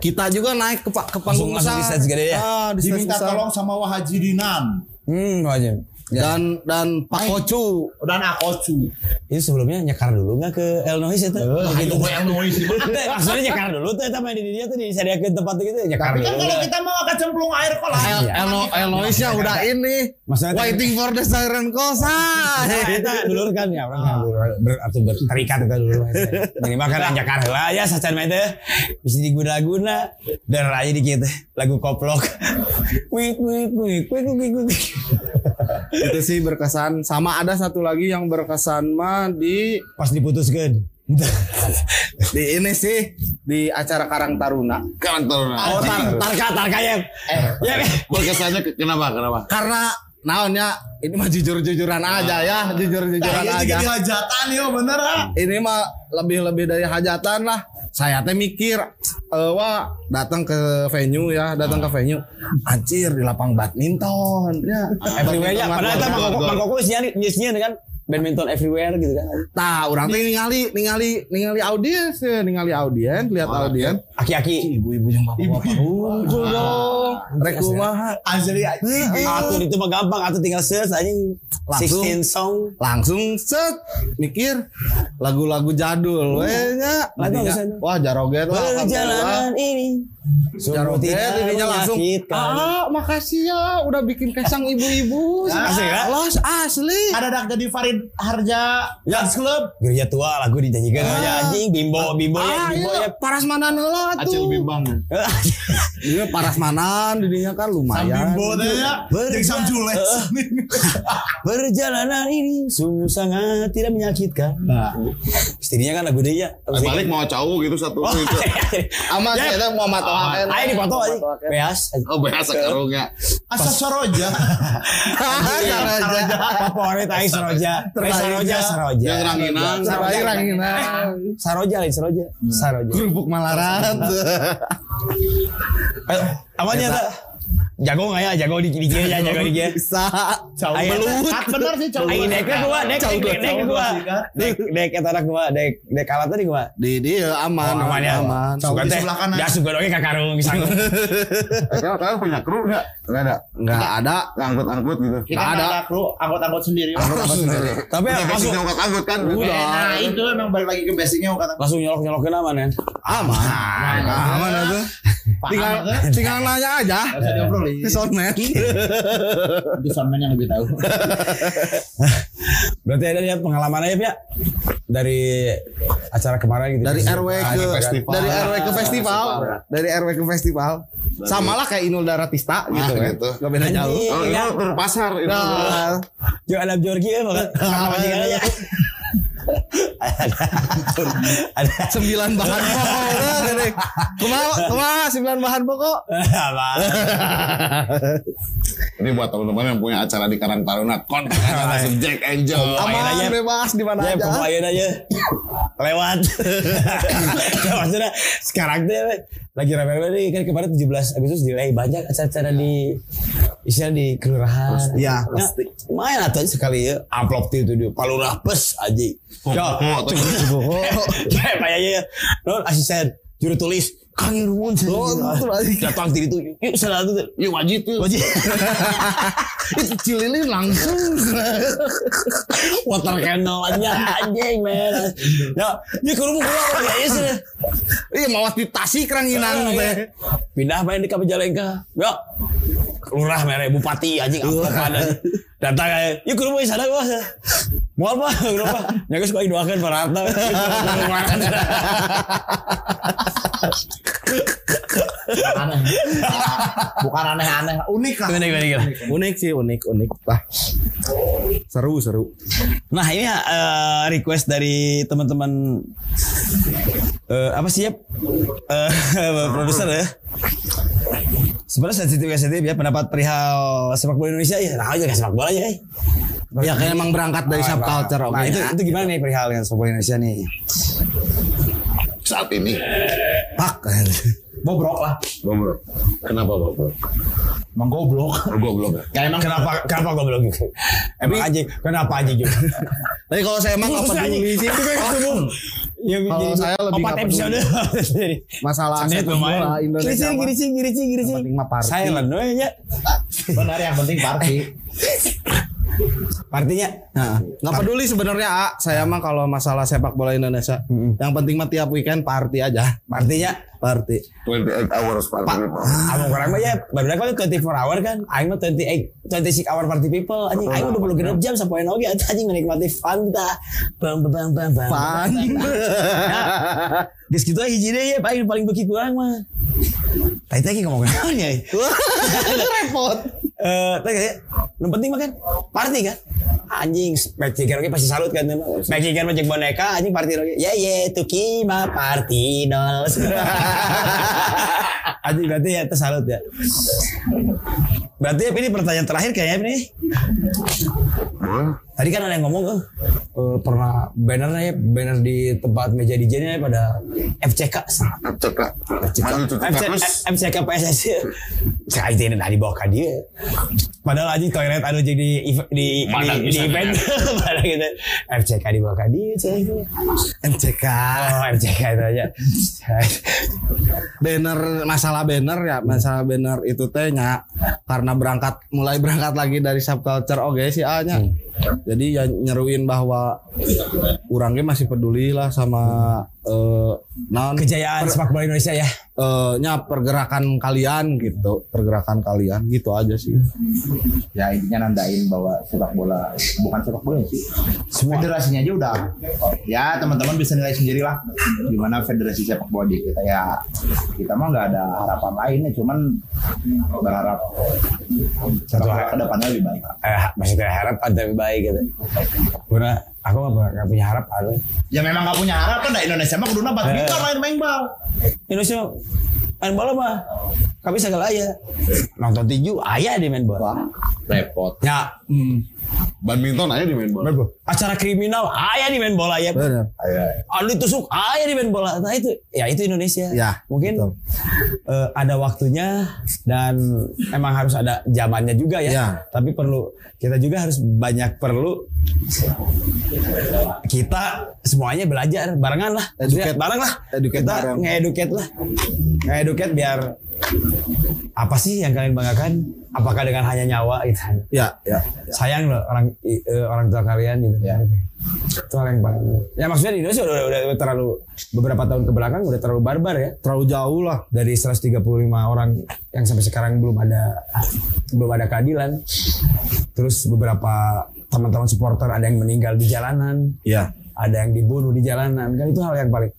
S1: kita juga naik ke pa- ke panggung
S2: Langsung- langsung
S1: besar.
S2: di stage gede ya?
S1: Ah, di stage
S4: diminta
S1: besar.
S4: tolong sama Wahaji Dinan
S2: Hmm, wajib. Ya.
S1: Dan dan Pak Kocu
S4: dan Akocu
S2: Itu sebelumnya nyekar dulu nggak ke El Noise itu?
S4: gitu yang noise sih.
S2: Teh, [LAUGHS] Maksudnya nyekar dulu tuh sama di dia tuh disediakan tempat tuh gitu nyekar dulu.
S4: tapi kan kalau kita mau akan cemplung air kolam
S1: El
S2: Iya.
S1: Elo- Eloisnya udah ini
S2: Maksudnya-
S1: waiting for the siren calls ah.
S2: Nah, eta [LAUGHS] dulu kan ya orang kan dulu ber, atuh ber- terikat itu dulu. Minimal kan yang Jakarta lah ya sacan mah teh bisa diguna-guna dan aja di kita lagu koplok. [LAUGHS] Wik wik wik wik wik wik.
S1: itu sih berkesan sama ada satu lagi yang berkesan mah di [LAUGHS]
S2: Pas diputuskan.
S1: di ini sih di acara Karang Taruna
S3: Kantor.
S1: oh tar-
S2: tarka tarka ya.
S1: Eh.
S2: Ya kan?
S3: Berkesannya ke- kenapa? Kenapa?
S1: karena naonnya ini mah jujur-jujuran aja ya jujur-jujuran
S4: Kayaknya Ah. Nah,
S1: aja
S4: iya juga di hajatan yo bener ah
S1: ini mah lebih-lebih dari hajatan lah saya teh mikir eh wah datang ke venue ya datang ke venue anjir di lapang badminton ya
S4: Ah,
S2: Everywhere
S4: iya,
S2: ya.
S4: kan-
S2: Padahal kita
S3: Gor,
S2: Mang Koko-
S3: gor.
S2: Mang Koko isian isian kan badminton everywhere gitu kan.
S1: Tah, orang teh ningali ningali ningali audiens ya, ningali audiens lihat
S4: Ah,
S1: audiens
S4: iya.
S2: Aki-aki
S1: ibu-ibu yang bapak-bapak unggul dong rek
S4: Iya,
S1: kumaha
S4: Anjali
S2: Atur itu mah gampang, atur tinggal search aja
S1: Langsung.
S2: 16 song.
S1: langsung set mikir lagu-lagu
S2: Oh.
S1: jadul weh nya
S2: Lagu
S1: Tadinya,
S2: bisa.
S1: wah jaroget lah alhamdulillah.
S2: Perjalanan ini sungguh
S1: Jaroget ininya
S2: tidak
S1: Eh, langsung
S2: menyakitkan.
S1: ah makasih ya udah bikin kesang ibu-ibu
S2: Asli ya?
S1: los asli
S4: ada dak jadi Farid Harja
S2: Ya,
S4: Dance Club
S2: Gereja tua lagu dijanjikan aja anjing bimbo ya. bimbo ya
S1: ah
S2: bimbo ya.
S1: iya paras mandan heula
S3: Acil
S1: tuh
S3: bimbang.
S1: Ini Iya, Parasmanan dirinya kan lumayan.
S4: Sambil ya.
S2: Berjalan- [LAUGHS] Perjalanan ini sungguh sangat tidak menyakitkan. Nah. Setidaknya kan lagu dia ya. Oh, iya.
S3: Eh, balik mau cowok gitu satu
S1: Oh,
S3: gitu.
S1: iya.
S3: Aman sih, ada mau mata waken.
S2: Ah, Ayo dipoto aja.
S1: [LAUGHS]
S2: Beas.
S3: Oh, bahasa karungnya.
S4: Asap Soroja.
S2: Iya, Ah,
S1: Saroja.
S2: Favorit aing Saroja. Aing Saroja Saroja.
S3: Yang ranginang.
S1: Saroja Ranginang.
S2: Saroja aing Saroja. Saroja.
S1: Kerupuk Malarat.
S2: Ayo, awalnya tak. Jago nggak ya? Jago di kiri ya, jago di [LAUGHS] kiri.
S1: Bisa.
S2: Ayo,
S1: Belut.
S4: Ah, bener sih cowok.
S2: Ayo dek ke gua, dek dek dek dek ke gua, dek dek kata anak gua, dek dek kalah tadi gua.
S1: Di dia aman,
S2: Oh, aman ya.
S1: aman.
S2: Suka
S4: di
S2: teh,
S4: sebelah kanan.
S2: ya suka doge kakarung sanggup.
S3: Kalian kalian punya kru nggak? Nggak ada.
S1: Nggak ada.
S3: Angkut-angkut gitu.
S4: Kita
S1: Nggak ada.
S4: ada kru angkut-angkut sendiri.
S2: Tapi langsung
S3: Punya basic angkut-angkut kan.
S2: Udah.
S4: Nah, itu emang balik lagi ke basicnya angkut-angkut.
S2: langsung nyolok nyolokin aman ya.
S1: Aman. Aman itu.
S4: Paham,
S1: Tinggal
S4: kan?
S1: tinggal nanya aja.
S4: Nggak [LAUGHS] usah diobrolin.
S1: Di soundman.
S4: Nanti soundman yang lebih tahu.
S2: Berarti ada lihat pengalaman aja ya dari acara kemarin gitu.
S1: Dari
S2: Gitu.
S1: RW
S2: Ah,
S1: ke
S2: gitu kan.
S3: festival.
S1: dari RW ke festival, dari RW ke festival. Sama lah kayak Inul Daratista gitu kan.
S3: gitu.
S1: Gak beda jauh.
S3: Oh,
S2: Iya.
S3: itu terpasar itu.
S1: Nah,
S2: Jo ada Jorgi ya makan. Makan bajingan [LAUGHS] aja. Ada [LAUGHS]
S1: sembilan bahan pokok. Nah, gede. Kumaha kumaha sembilan bahan pokok.
S2: apa?
S3: Ini buat teman-teman yang punya acara di Karang Taruna, kontak aja langsung Jack Angel.
S2: Aman
S1: Aman
S2: aja.
S1: bebas di mana
S2: Ya
S1: aja. [LAUGHS]
S2: pemain aja lewat. Ya, Maksudnya sekarang tuh lagi rame-rame nih kan kemarin 17 Agustus delay banyak acara-acara di istilah di kelurahan.
S1: Iya,
S2: Ya, main atau sekali ya amplop tuh itu dia palurah pes aja. Ya,
S3: Oh, tuh.
S1: Oh,
S2: kayak kayaknya non asisten juru tulis kangen rumun datang diri tuh yuk salah tuh
S3: Iya wajib tuh.
S2: wajib
S1: Itu cililin langsung.
S2: water cannon aja anjing men ya ya ke rumah keluar ya ya sih
S1: Iya mawas di Tasik Ranginang
S4: Iya.
S1: teh.
S2: pindah main di Kapjalengka ya lurah merah bupati anjing
S1: Iya.
S2: apa ada datang aja yuk ke rumah sana gua mau apa ke rumah ya guys gua doakan para harta
S4: Aneh. Bukan aneh-aneh, unik lah.
S2: gimana gimana gimana
S1: Unik sih, unik, unik. Lah. Seru, seru.
S2: Nah ini eh, request dari teman-teman eh, apa sih ya Eh, [LAUGHS] produser ya. Sebenarnya sensitif sensitif ya pendapat perihal sepak bola Indonesia ya, nah aja nggak sepak bola aja.
S1: Ya kayak emang berangkat dari subculture
S2: Nah,
S1: oke.
S2: itu itu gimana nih perihal dengan sepak bola Indonesia nih?
S3: Saat ini.
S2: [LAUGHS]
S1: Pak.
S4: Bobrok lah.
S3: Goblok. Kenapa goblok?
S4: Emang goblok.
S3: Goblok.
S4: Ya emang
S2: Kenapa kenapa gue bilang gitu? Emang aja kenapa aja [LAUGHS] gitu?
S1: Tapi kalau saya emang nggak peduli sih.
S2: Yang
S1: Kalau
S2: Ya, jadi
S1: saya lebih
S2: empat
S1: nggak
S2: episode.
S1: [LAUGHS]
S2: [LAUGHS]
S1: Masalah
S2: Jadi
S1: aset bola Indonesia.
S2: Gerici,
S1: mah.
S2: gerici, gerici, gerici.
S1: penting mah party.
S2: Saya lenoi ya.
S4: benar yang penting party.
S2: Partinya
S1: Nah, nggak peduli sebenarnya A. Saya mah kalau masalah sepak bola Indonesia, yang penting mah tiap weekend party aja.
S2: Partinya
S1: Party.
S3: 28 hours party people.
S2: Kamu kurang mah ya Baru kalau 24 hour kan Aing mah 28 26 hour party people Anjing Aing udah puluh genep jam Sampai oge Atau anjing menikmati fanta Bang bang bang bang bang
S1: Pan. [LAUGHS]
S2: Gis gitu aja hiji deh ya Aing paling beki kurang mah Tadi tadi ngomong kenapa ya
S1: Repot.
S2: Eh, tadi kayak, yang penting mah kan party kan anjing magic oke pasti salut kan magic kan magic boneka anjing party oke ya ya tuki ma party nos [LAUGHS] anjing berarti ya itu salut ya berarti ya, ini pertanyaan terakhir kayaknya ini
S3: Boleh.
S2: tadi kan ada yang ngomong eh eh, pernah bannernya ya banner di tempat meja di nya pada FCK
S3: Cek lah. Maju tuh
S2: FC,
S3: terus.
S2: FCK PSSI saya itu ini dari bawah ke dia padahal aja toilet anu jadi ev- di di,
S3: Mana
S2: di
S3: bisa
S2: event [LAUGHS] padahal gitu FCK di bawah ke dia cek
S1: MCK.
S2: oh FCK itu aja
S1: banner masalah banner ya masalah banner itu teh nya karena berangkat mulai berangkat lagi dari subculture oke sih A nya jadi ya nyeruin bahwa orangnya masih peduli lah sama eh non
S2: [LAUGHS] Kejayaan sepak bola Indonesia ya.
S1: nya pergerakan kalian gitu pergerakan kalian gitu aja sih
S4: ya intinya nandain bahwa sepak bola bukan sepak bola sih semua federasinya aja udah ya teman-teman bisa nilai sendiri lah gimana federasi sepak bola di kita ya kita mah nggak ada harapan lainnya cuman berharap sepak bola kedepannya lebih baik
S2: Eh, maksudnya harapan tapi baik gitu. Karena aku nggak nggak punya harapan.
S4: ya memang nggak punya harapan dah Indonesia mah kuduna badminton
S2: Eh.
S4: main main bal
S2: Indonesia main bola mah kami segala ayah ya. nonton tinju ayah di main bola
S3: repot
S2: ya
S3: badminton aja di main bola
S2: acara kriminal ayah di main bola ya
S1: benar
S2: Aduh tusuk ayah di main bola nah itu ya itu Indonesia
S1: Ya,
S2: mungkin
S1: betul.
S2: eh, ada waktunya dan emang harus ada zamannya juga ya
S1: Ya.
S2: tapi perlu kita juga harus banyak perlu kita semuanya belajar barengan lah
S1: Educate.
S2: bareng lah
S1: Educate
S2: kita
S1: bareng.
S2: nge-educate lah nge-educate biar apa sih yang kalian banggakan apakah dengan hanya nyawa gitu
S1: ya ya
S2: sayang loh orang i- eh, orang tua kalian gitu ya. Itu hal yang paling. Ya maksudnya di Indonesia udah, udah terlalu beberapa tahun ke belakang udah terlalu barbar ya.
S1: terlalu jauh lah
S2: Dari 135 orang yang sampai sekarang belum ada belum ada keadilan. Terus beberapa teman-teman supporter ada yang meninggal di jalanan,
S1: ya
S2: ada yang dibunuh di jalanan. Kan itu hal yang paling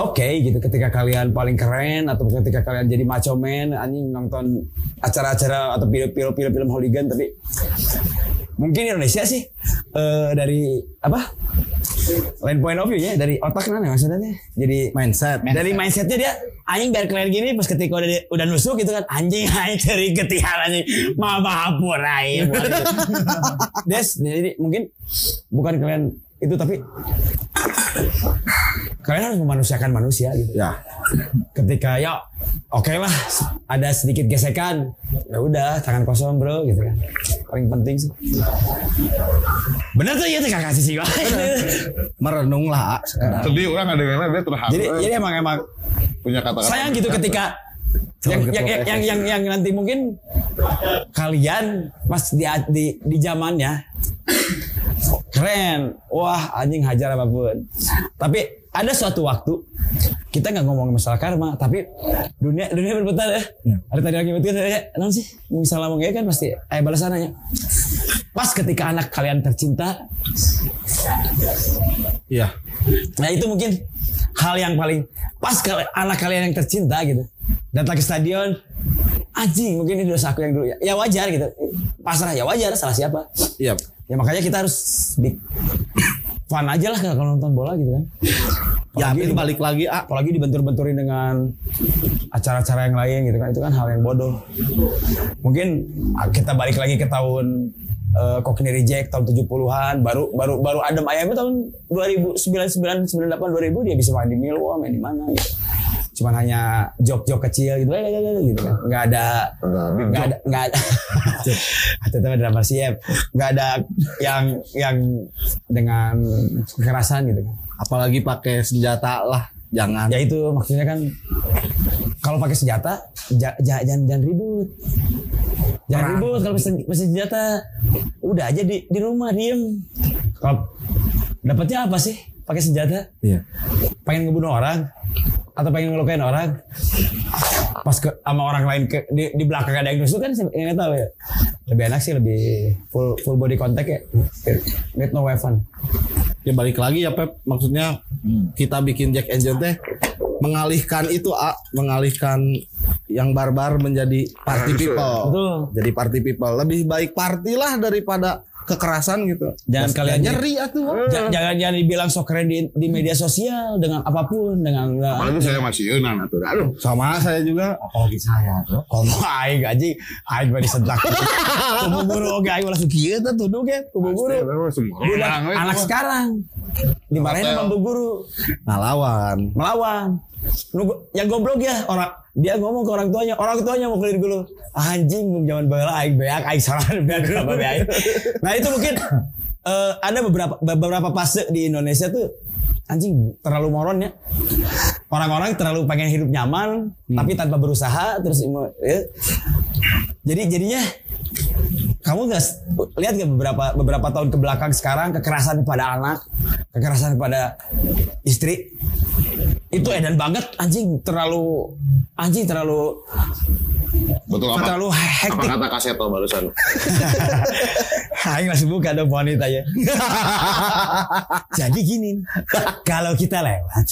S2: Oke gitu ketika kalian paling keren atau ketika kalian jadi macho man anjing nonton acara-acara atau film-film film hooligan tapi mungkin Indonesia sih eh, dari apa lain point of view ya dari otak kan maksudnya teh. jadi
S1: mindset
S2: dari mindsetnya dia anjing biar keren gini pas ketika udah udah nusuk gitu kan anjing [LAUGHS] anjing dari ketihan anjing mama hapurai Des jadi mungkin bukan kalian itu tapi kalian harus memanusiakan manusia gitu
S1: ya
S2: ketika ya oke lah ada sedikit gesekan ya udah tangan kosong bro gitu kan paling penting sih bener tuh ya tuh kakak sih
S1: merenung lah A, sekedar.
S3: sedih orang ada yang dia terharu
S2: [LAUGHS] jadi jadi emang emang
S3: punya kata-kata
S2: sayang gitu ketika yang yang, yang yang yang yang nanti mungkin kalian pas di di di zamannya keren wah anjing hajar apapun tapi ada suatu waktu kita nggak ngomong masalah karma tapi dunia dunia berputar ya ada tadi lagi betul ya non sih misalnya ngomong kayak kan pasti eh balasannya pas ketika anak kalian tercinta
S1: ya
S2: Nah itu mungkin hal yang paling pas kalau anak kalian yang tercinta gitu datang ke stadion anjing mungkin ini dosa aku yang dulu ya, ya wajar gitu pasrah ya wajar salah siapa
S1: ya
S2: ya makanya kita harus di fun aja lah kalau nonton bola gitu kan
S1: ya
S2: Apalagi
S1: itu
S2: di-
S1: balik lagi A
S2: apalagi dibentur-benturin dengan acara-acara yang lain gitu kan itu kan hal yang bodoh mungkin ah, kita balik lagi ke tahun eh, Cockney Reject tahun 70-an baru baru baru adem ayamnya tahun 2009 98 2000 dia bisa main di Millwall main di mana gitu cuman hanya jok-jok kecil gitu, eh, eh, eh, gitu kan. nggak ada nggak ada nggak ada atau teman drama siap nggak ada yang yang dengan kekerasan gitu kan
S1: apalagi pakai senjata lah jangan
S2: ya itu maksudnya kan kalau pakai senjata ja- ja- jangan jangan ribut jangan ribut kalau pesen, pesen senjata udah aja di di rumah diem kalau dapatnya apa sih pakai senjata
S1: Iya.
S2: pengen ngebunuh orang atau pengen ngelukain orang pas ke sama orang lain ke, di, di belakang ada yang nusuk kan yang nggak tahu ya lebih enak sih lebih full full body contact ya with no weapon
S1: ya balik lagi ya Pep maksudnya kita bikin Jack Angel teh mengalihkan itu A mengalihkan yang barbar menjadi party people
S2: Betul.
S1: jadi party people lebih baik party lah daripada kekerasan gitu
S2: Jangan
S1: Mas,
S2: kalian-
S1: nyeri atuh
S2: Ja- jangan jangan dibilang sok keren di, di media sosial dengan apapun dengan
S3: apalagi saya masih eunan atuh aduh
S1: sama saya juga
S2: apalagi Oh, gitu saya tuh kalau [LAUGHS] aing gaji aing mah disentak tubuh guru oke aing langsung kieu teh tuduh ge tubuh guru
S3: Aduh, semua
S2: Budak,
S3: orang we,
S2: anak
S3: semua.
S2: sekarang dimarahin sama bu guru Nah,
S1: Nah, ngelawan
S2: melawan Nunggu- yang goblok ya orang dia ngomong ke orang tuanya orang tuanya mau kelir dulu anjing belum zaman bageula aing beak aing salah [LAUGHS] beak apa beak nah itu mungkin eh, ada beberapa beberapa fase di Indonesia tuh anjing terlalu moron ya orang-orang terlalu pengen hidup nyaman tapi tanpa berusaha terus imo- ya. jadi jadinya kamu nggak s- lihat nggak beberapa beberapa tahun ke belakang sekarang kekerasan pada anak, kekerasan pada istri itu edan banget anjing terlalu anjing terlalu
S3: Betul apa?
S2: terlalu
S3: Apa
S2: hektik.
S3: kata Kaseto barusan?
S2: [LAUGHS] Aing langsung buka dong wanita ya. Jadi gini, kalau kita lewat,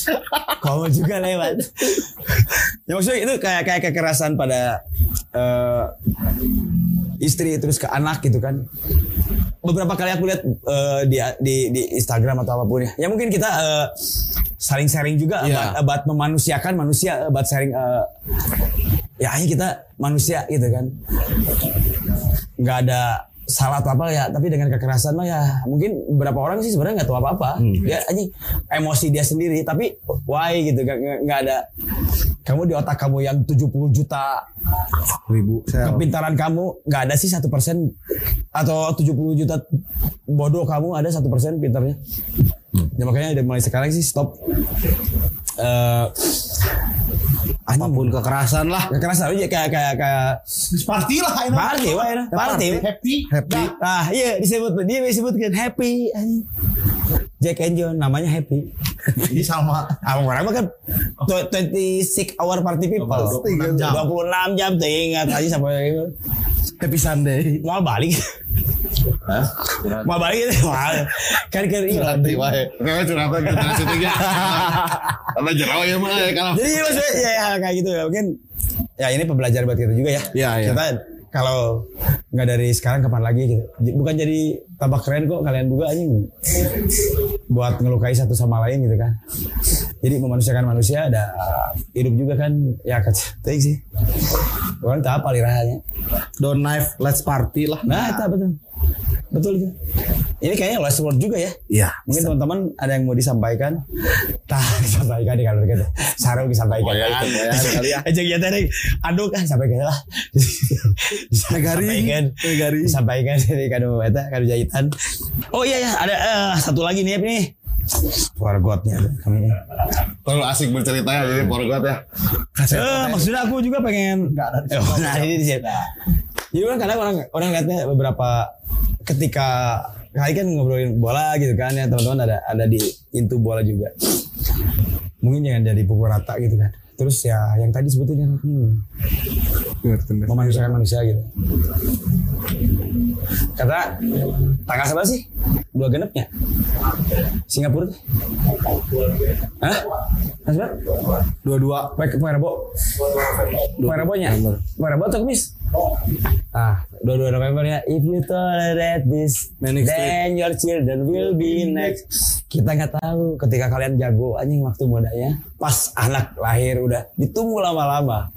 S2: kamu juga lewat. Ya maksudnya itu kayak kayak kekerasan pada eh, istri terus ke anak gitu kan. Beberapa kali aku lihat eh, di, di di Instagram atau apapun ya. Ya mungkin kita eh, saling-sharing juga
S1: Iya.
S2: about, about memanusiakan manusia, about sharing eh, ya akhirnya kita manusia gitu kan nggak ada salah apa apa ya tapi dengan kekerasan mah ya mungkin beberapa orang sih sebenarnya nggak tahu apa apa
S1: Hmm.
S2: ya anjing emosi dia sendiri tapi why gitu nggak- nggak nggak ada kamu di otak kamu yang 70 juta
S1: ribu sel.
S2: kepintaran kamu nggak ada sih satu persen atau 70 juta bodoh kamu ada satu persen pintarnya
S1: Hmm.
S2: ya makanya udah mulai sekarang sih stop eh
S1: apapun kekerasan lah
S2: kekerasan aja kayak kayak kayak
S4: Party lah, ayo.
S2: party wah ya party
S4: Happy.
S1: happy
S2: ah iya disebut dia disebutkan happy anjing. Jack and John namanya happy
S4: Jadi sama.
S2: Abang orang mah kan tw- 26 hour party people
S4: 26 jam.
S2: 26 jam tuh ingat aja sampai itu
S1: happy Sunday
S2: mau balik
S4: Hah?
S2: mau balik [LAUGHS] itu mal kan kan ingat
S3: Nanti wae. Karena curhat ke situ ya. Karena jerawat ya mah ya, kalau.
S2: jadi [LAUGHS] maksudnya ya, ya kayak gitu ya mungkin ya ini pembelajaran buat kita juga ya
S1: Iya, iya.
S2: kita kalau nggak dari sekarang kapan lagi gitu J- bukan jadi tambah keren kok kalian juga anjing buat ngelukai satu sama lain gitu kan jadi memanusiakan manusia ada hidup juga kan ya kacau Teuing sih orang tak apa lirahnya
S1: don't knife let's party lah
S2: nah tak betul betul itu ini kayaknya last word juga ya
S1: iya
S2: Mungkin teman-teman ada yang mau disampaikan. [LAUGHS] Tah, disampaikan di kalau gitu. Sarung disampaikan.
S3: Pokoknya itu, pokoknya itu kali ya.
S2: Ajak ya tadi. Aduh kan sampaikan lah. [LAUGHS] Disampaikan.
S1: Garing, garing.
S2: Disampaikan [LAUGHS] dari kanu eta kanu jahitan. Oh iya ya, ada eh, satu lagi nih Ep, nih. Forgotnya kami.
S3: Terlalu asik berceritanya jadi porgot ya.
S2: Eh, maksudnya aku juga pengen. Eh, Nah, ini di sini. Jadi orang kadang orang orang lihatnya beberapa ketika kali kan ngobrolin bola gitu kan ya teman-teman ada ada di intu bola juga. Mungkin jangan jadi pukul rata gitu kan. Terus ya yang tadi sebetulnya hmm, memanusiakan manusia gitu. Kata tanggal seberapa sih? Dua genepnya. Singapura tuh. Hah? Tanggal seberapa?
S1: dua-dua
S2: Pakai pakai rebo. Pakai rebonya. Pakai rebo atau kemis? Ah, 22 November ya. If you tolerate this,
S1: Manic Street.
S2: then your children will be next. Kita nggak tahu ketika kalian jago anjing waktu mudanya. Pas anak lahir udah ditunggu lama-lama.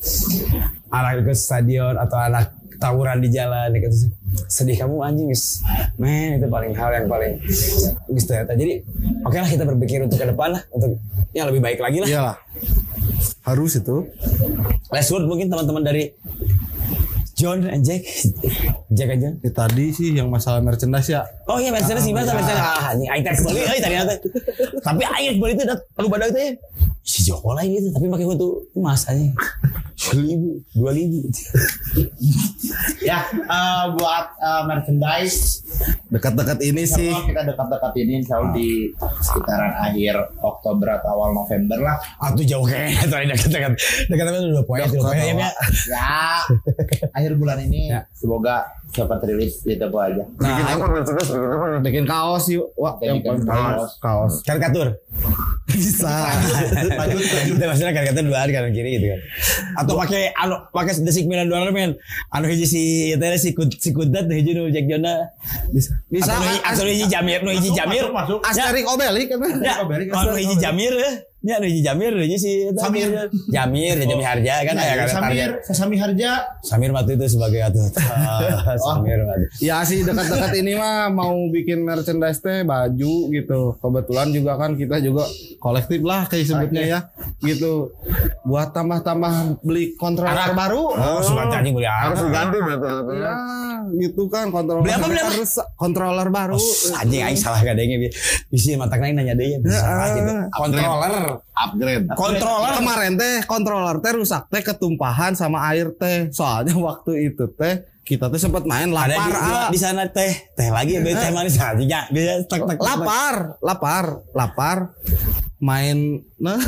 S2: Anak ke stadion atau anak tawuran di jalan ya gitu. sedih kamu anjing guys men itu paling hal yang paling guys ternyata jadi oke lah kita berpikir untuk ke depan lah untuk yang lebih baik lagi lah
S1: iyalah harus itu
S2: Last word mungkin teman-teman dari John and Jack. Jack and John.
S1: Ya, tadi sih yang masalah merchandise ya
S2: Oh iya Mercedes sih Mas Mercedes. Ah anjing aing teh beli euy tadi nanti. Tapi aing beli teh perlu badak teh. ya. Si Joko lain itu tapi pakai kutu emas anjing. Seribu, dua ribu.
S4: Ya, eh, buat eh, merchandise
S1: dekat-dekat ini
S4: Insya
S1: sih
S4: Allah
S2: Ya,
S4: kita dekat-dekat ini insya Allah di sekitaran akhir Oktober atau awal November lah.
S2: Ah tuh jauh [LAUGHS] kayaknya tadi dekat-dekat. Dekat-dekat udah dua poin. Dua poin ya.
S4: Ya, akhir bulan ini
S2: Ya.
S4: semoga cepat rilis di toko aja.
S1: bikin apa merchandise bikin apa Nah, bikin kaos sih wah
S4: Bikin
S1: yang paling
S4: kaos.
S1: kaos kaos
S2: Karikatur.
S1: bisa
S2: lanjut lanjut maksudnya kan kata dua hari kanan kiri gitu kan atau pakai anu pakai desik milan dolar men anu hiji si ya teh si kut si kudat nu hiji nu Jack Jona
S1: bisa bisa
S2: atau nu hiji- atau nu hiji Jamir nu hiji Jamir
S4: masuk.
S1: Asterik Obelik kan
S2: ya oh, nu hiji Jamir ya ya nu hiji Jamir nu hiji si eta.
S4: Samir.
S2: Jamir ya Jamir Harja kan
S4: Nah,
S2: aya kan
S4: Samir,
S2: target
S4: Sami Harja,
S2: Samir waktu itu sebagai atuh [LAUGHS] Ah, Samir waktu
S1: Ya sih dekat-dekat ini mah mau bikin merchandise teh baju gitu. Kebetulan juga kan kita juga kolektif lah kayak sebutnya ya. Gitu. Buat tambah-tambah beli kontrol baru.
S2: oh suka anjing beli
S3: Harus
S2: apa
S3: diganti betul.
S1: Ya, gitu kan kontroler
S2: Beli apa, beli apa? Oh,
S1: harus kontroler baru.
S2: anjing aing salah gadengnya bi bisi mata aing nanya deui ya bisa gitu kontroler
S1: ah.
S3: upgrade.
S1: Kontroler kemarin teh kontroler teh rusak teh ketumpahan sama air teh. Soalnya [LAUGHS] waktu itu teh kita teh sempat main
S2: Ada di,
S1: lapar ah.
S2: di sana teh, teh lagi beli teh manis aja. Ya, biasa tek tek.
S1: lapar, lapar, lapar. Main nah,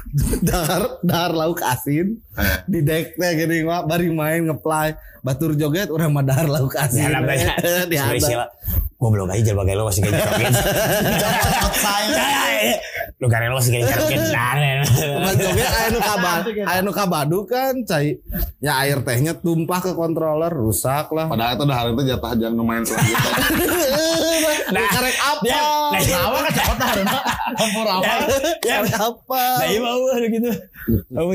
S1: [LAUGHS] dahar dahar lauk asin di dek teh gini mah bari main ngeplay batur joget urang mah dahar lauk asin.
S2: Ya,
S1: [LAUGHS]
S2: namanya.
S1: Di handap.
S2: Goblok aja jalan bagai lo masih kayak
S1: [LAUGHS]
S2: jarokin. [LAUGHS] Lu gak lo masih kayak Nah, jarokin.
S1: [LAUGHS] Mas Joget aya nu kabar, aya nu kabadu kan cai. Ya air tehnya tumpah ke kontroler rusak
S2: [LAUGHS]
S1: lah.
S3: Padahal itu udah hari itu jatah jam main selanjutnya.
S1: [LAUGHS] Nah, karek apa?
S2: Ya, nah, iya.
S1: Campur apa?
S2: Ya,
S1: Karek apa?
S2: Nah, iya mau aduh gitu. Mau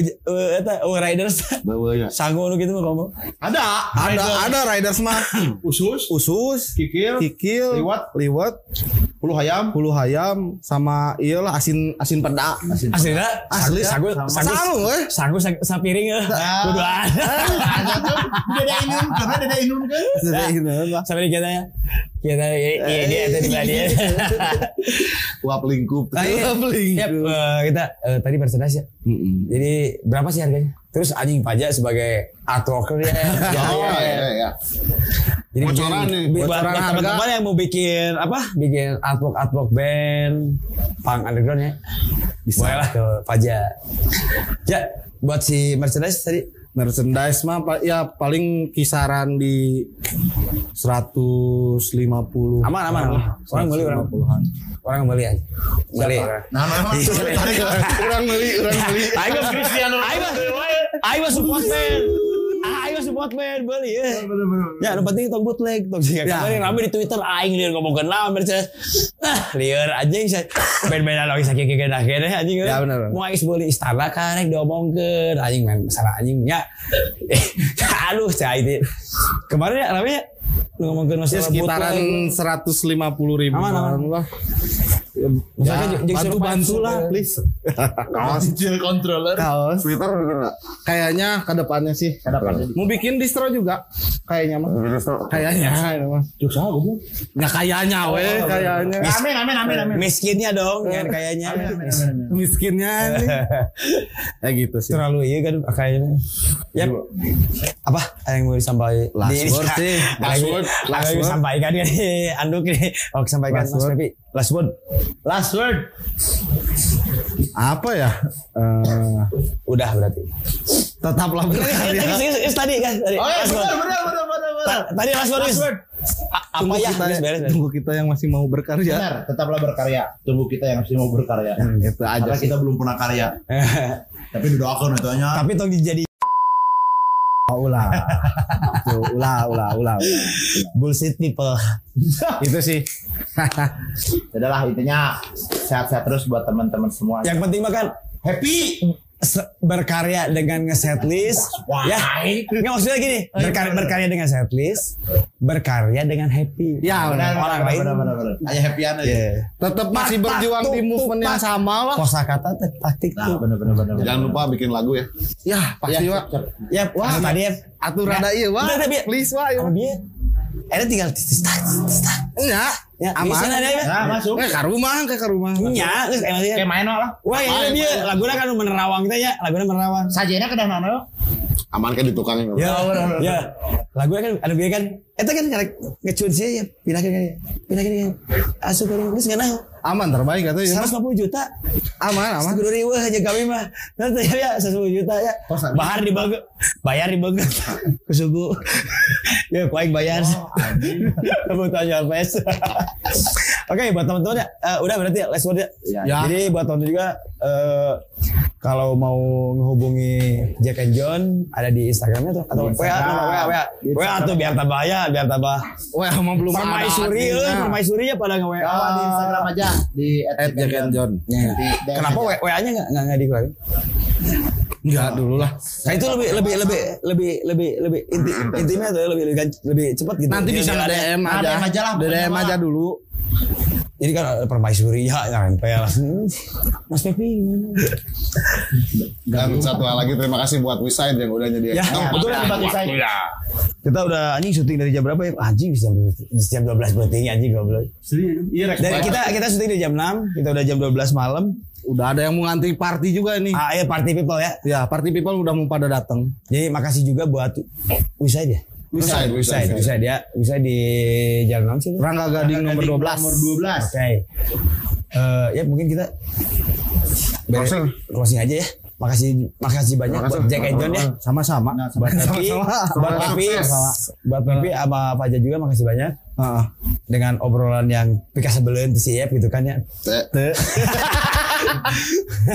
S2: eta mau riders
S3: Bawa ya.
S2: sanggup nu gitu mah kamu.
S4: Ada.
S1: Ada ada riders
S2: [CLEARS THROAT]
S1: mah
S4: Usus.
S1: usus,
S4: Kikil.
S1: kikil,
S4: Liwat.
S1: liwat,
S4: Puluh ayam.
S1: bulu hayam sama iyalah asin asin peda.
S2: Aslinya
S1: Asli. ah.
S2: sanggup sanggup
S1: Sama weh.
S2: sanggup sapiring ya. Kuduan.
S4: Ada tuh. Dede inun. Karena dede inun kan.
S2: Eh.
S1: gitu,
S2: Sampai kita ya. Kita iya dia itu di dia.
S3: Uap lingkup.
S1: Ayo beli.
S2: Yap, eh, kita eh, tadi Mercedes ya. Jadi berapa sih harganya? Terus anjing pajak sebagai art worker ya.
S3: Oh
S2: Jadi-
S3: ya
S1: iya.
S3: ya.
S2: Jadi
S3: Bocoran
S2: bikin-
S3: nih,
S2: bi- buat
S1: bocoran
S2: buat
S1: harga.
S2: teman-teman yang mau bikin apa? Bikin artwork artwork band punk underground ya. Bisa. Bolehlah ke Faja. Ya, buat si merchandise tadi
S1: merchandise mah pa- ya paling kisaran di 150
S2: aman aman. aman. Orang beli orang orang beli aja. Beli.
S4: Nah, memang.
S1: kurang beli kurang beli [LAUGHS]
S2: Ayo Cristiano. Ayo. Ayo support man. Ayo support man beli ya. Ya, yang penting tong bootleg, tong sih.
S1: Ya.
S2: Kemarin rame di Twitter aing liur ngomongkeun lah Mercedes. Ah, liur anjing saya ben-benan lagi sakit kayak dah kene anjing.
S1: Ya, bener.
S2: Mau aing boleh istana kan rek diomongkeun anjing main salah anjing ya. [LAUGHS] Aduh, saya itu. Kemarin ya rame ya lu
S1: ya
S2: ngomongkeun masalah
S1: sekitaran
S2: bootleg.
S1: 150 ribu
S2: Aman, aman.
S1: lah
S2: Misalkan
S1: Ya,
S2: jeung- jeung
S1: bantu
S2: survive
S1: bantu lah
S2: survive. [LAUGHS]
S1: please
S4: Kecil controller.
S1: kaos
S3: Twitter udah
S1: kayaknya ke depannya sih
S4: Kenapa?
S1: mau bikin distro juga kayaknya mah kayaknya ini mah
S4: Dosa gue.
S1: ya kayaknya weh kayaknya
S4: Amin, amin, amin, amin.
S2: Miskinnya dong, kan kayaknya.
S1: miskinnya nih ya gitu sih
S2: [LAUGHS] terlalu iya kan kayaknya ya apa ada yang mau disampaikan
S1: Last
S2: Di-
S1: word sih.
S2: [LAUGHS] Ada
S1: Last
S2: yang-
S1: word.
S2: ada
S1: Last
S2: yang
S1: word.
S2: disampaikan kan anduk nih [LAUGHS] oh sampaikan
S1: Last
S2: mas
S1: word.
S2: Pepi last word
S4: Last word.
S1: apa ya Eh,
S2: udah berarti
S1: tetaplah
S2: Tadi-
S1: berkarya
S2: tadi- tadi- tadi- tadi kan tadi
S4: Oh, ya,
S2: last word
S4: benar, benar, benar, benar, benar.
S2: Ta- tadi last word Is. A- apa
S1: Tunggu
S2: ya
S1: kita,
S2: beres beres
S1: tunggu kita yang masih mau berkarya
S4: Benar, tetaplah berkarya. Tunggu kita yang masih mau berkarya.
S1: itu Ya, gitu aja
S4: Karena
S1: sih.
S4: kita belum pernah karya. Tapi didoakan itu hanya.
S2: [LAUGHS] tapi tong dijadi
S1: Oh, ulah. Tuh, ulah, ulah, ulah, ulah.
S2: bullshit people
S1: [LAUGHS] Itu sih.
S4: Adalah Ya intinya sehat-sehat terus buat teman-teman semua.
S2: yang penting mah kan
S4: Ya. happy.
S2: se- berkarya dengan nge-setlist
S4: Wah.
S2: ya nggak maksudnya gini berkarya berkarya dengan setlist berkarya dengan happy
S1: ya, benar.
S4: Benar,
S2: orang
S4: benar,
S2: lain.
S4: benar, benar, benar. Hanya happy aja.
S1: Iya. Tetap masih
S2: Pak,
S1: berjuang
S2: tuh,
S1: di
S2: tuh,
S1: movement yang
S2: Pak.
S1: sama lah.
S2: kosa kata taktik
S4: Nah,
S2: tuh
S4: benar, benar, benar.
S3: Jangan lupa bikin lagu ya.
S1: Ya, pasti wa.
S2: ya wah tadi ya
S1: Atuh rada ieu wa.
S2: Udah, udah, biar.
S1: Please ya. wa ieu.
S2: Sama dia. Ada tinggal tis- tis- tis- tis- tis-
S1: Nya.
S2: Ya,
S1: Aman.
S2: bisa ada ya.
S4: Nah, masuk.
S1: Iya. Eh, ka rumah, ke ka rumah.
S2: Nya, terus emang dia.
S4: Kayak main lah.
S2: Wah, ya udah, dia laguna kan menerawang teh ya, laguna menerawang.
S4: Sajena kedah nano.
S3: Aman kan di tukang ini.
S1: Iya.
S2: Ya,
S4: bener, bener.
S2: ya. Laguna kan ada biaya kan. Eta kan karek ngecun sih ya, pindah ke kiri. Pindah ke kiri. Asup ke kiri. Terus nggak naon.
S1: Aman terbaik atuh ieu.
S2: 150 juta.
S1: Aman, aman.
S2: Guru riweuh aja kami mah. Nanti ya 150 juta ya. Bahar di Bogor. Bayar di Bogor. Kesugu. ya kuaik bayar. [LAUGHS] Kamu tanya PS. Oke buat teman-teman ya. eh, udah berarti ya, last word ya.
S1: Ya.
S2: Jadi buat teman-teman juga eh, kalau mau menghubungi Jack and John ada di Instagramnya tuh atau
S4: Di
S2: WA
S4: Instagram.
S2: nomor WA WA
S4: Di
S2: WA
S4: Instagram.
S2: tuh biar tambah ya biar tambah
S1: Wah, emang belum ada.
S2: permaisuri eh,
S1: adminnya.
S2: permaisuri ya pada nge WA
S4: Kalau Oh, di Instagram aja di
S1: At Jack and John.
S2: Kenapa WA-nya nggak nggak nggak dikeluarin?
S1: Enggak dulu lah.
S2: Nah itu lebih lebih lebih lebih lebih lebih inti intimnya tuh lebih lebih, gan- lebih cepat gitu.
S1: Nanti bisa nge
S2: ada
S1: DM
S4: Ada
S1: aja.
S4: yang aja lah,
S1: DM
S4: pokoknya,
S1: aja dulu.
S2: Jadi kan ada permaisuri ya [LAUGHS] nempel. Mas Pepi gimana?
S3: Dan satu hal lagi terima kasih buat Wisaid yang udah nyediain.
S1: Iya.
S2: Ya,
S3: tempat.
S4: Betul ya tempat saya.
S2: Kita udah anjing syuting dari jam berapa ya? Anjing jam jam 12 berarti anjing goblok.
S4: Iya, Rex.
S2: Dari kita kita syuting dari jam 6, kita udah jam 12 malam.
S1: Udah ada yang mau ngantri party juga nih.
S2: Ah, ya party people ya.
S1: Ya, party people udah mau pada datang.
S2: Jadi makasih juga buat Wisaid ya.
S3: Wisaid,
S2: Wisaid,
S3: Wisaid.
S2: Wisaid ya. Wisaid di Jalan 6 sih. Oke.
S1: Rangga Gading nomor 12.
S4: Nomor 12.
S2: Eh, ya mungkin kita beres- closing aja ya. Makasih makasih banyak buat Jack and John ya.
S1: Sama-sama.
S2: buat Pepi, buat
S3: Sama-sama.
S2: Pepi, buat Pepi sama Fajar juga makasih banyak. Dengan obrolan yang pika sebelum di siap gitu kan ya.
S3: Te-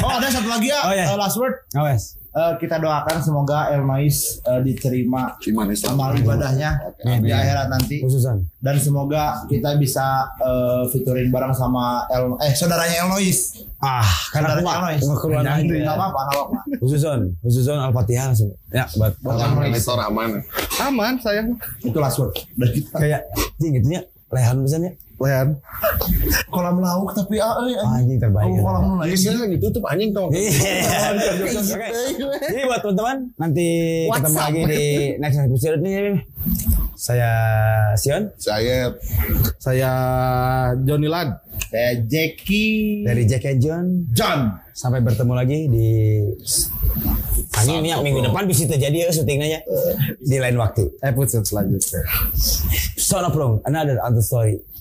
S4: Oh, ada satu lagi ya.
S2: Oh, iya.
S4: eh, last word.
S2: Awas.
S4: Eh, kita doakan semoga Elmais eh, diterima
S3: Iman Islam.
S4: amal ibadahnya di akhirat nanti
S2: Khususan.
S4: dan semoga kita bisa eh, fiturin bareng sama El eh saudaranya Elnois.
S2: Ah, karena aku
S4: Saudaranya
S2: mah
S4: Elnois.
S2: keluar lagi.
S3: ya.
S4: Enggak ya. apa-apa, nggak apa-apa.
S2: Khususan, khususan Al-Fatihah langsung. Ya, buat
S3: Bukan editor aman.
S1: Aman, sayang.
S4: Itu last word. Dan kita
S2: kayak anjing gitu ya. Lehan pesan ya.
S1: Lehan.
S4: kolam lauk tapi ah eh,
S2: Ah, Anjing terbaik.
S4: kamu kolam lauk.
S3: Isinya lagi tutup anjing tau.
S2: Iya. [LAUGHS] Oke. Jadi buat teman-teman nanti ketemu lagi di next episode ini. Saya Sion
S3: Saya
S1: Saya Johnny Lad.
S4: Saya Jackie
S2: dari Jack and John.
S4: John.
S2: sampai bertemu lagi di Anjing ini yang minggu depan bisa terjadi ya syutingnya ya. di lain waktu
S1: Eh, Episode selanjutnya.
S2: Sonoplong another other story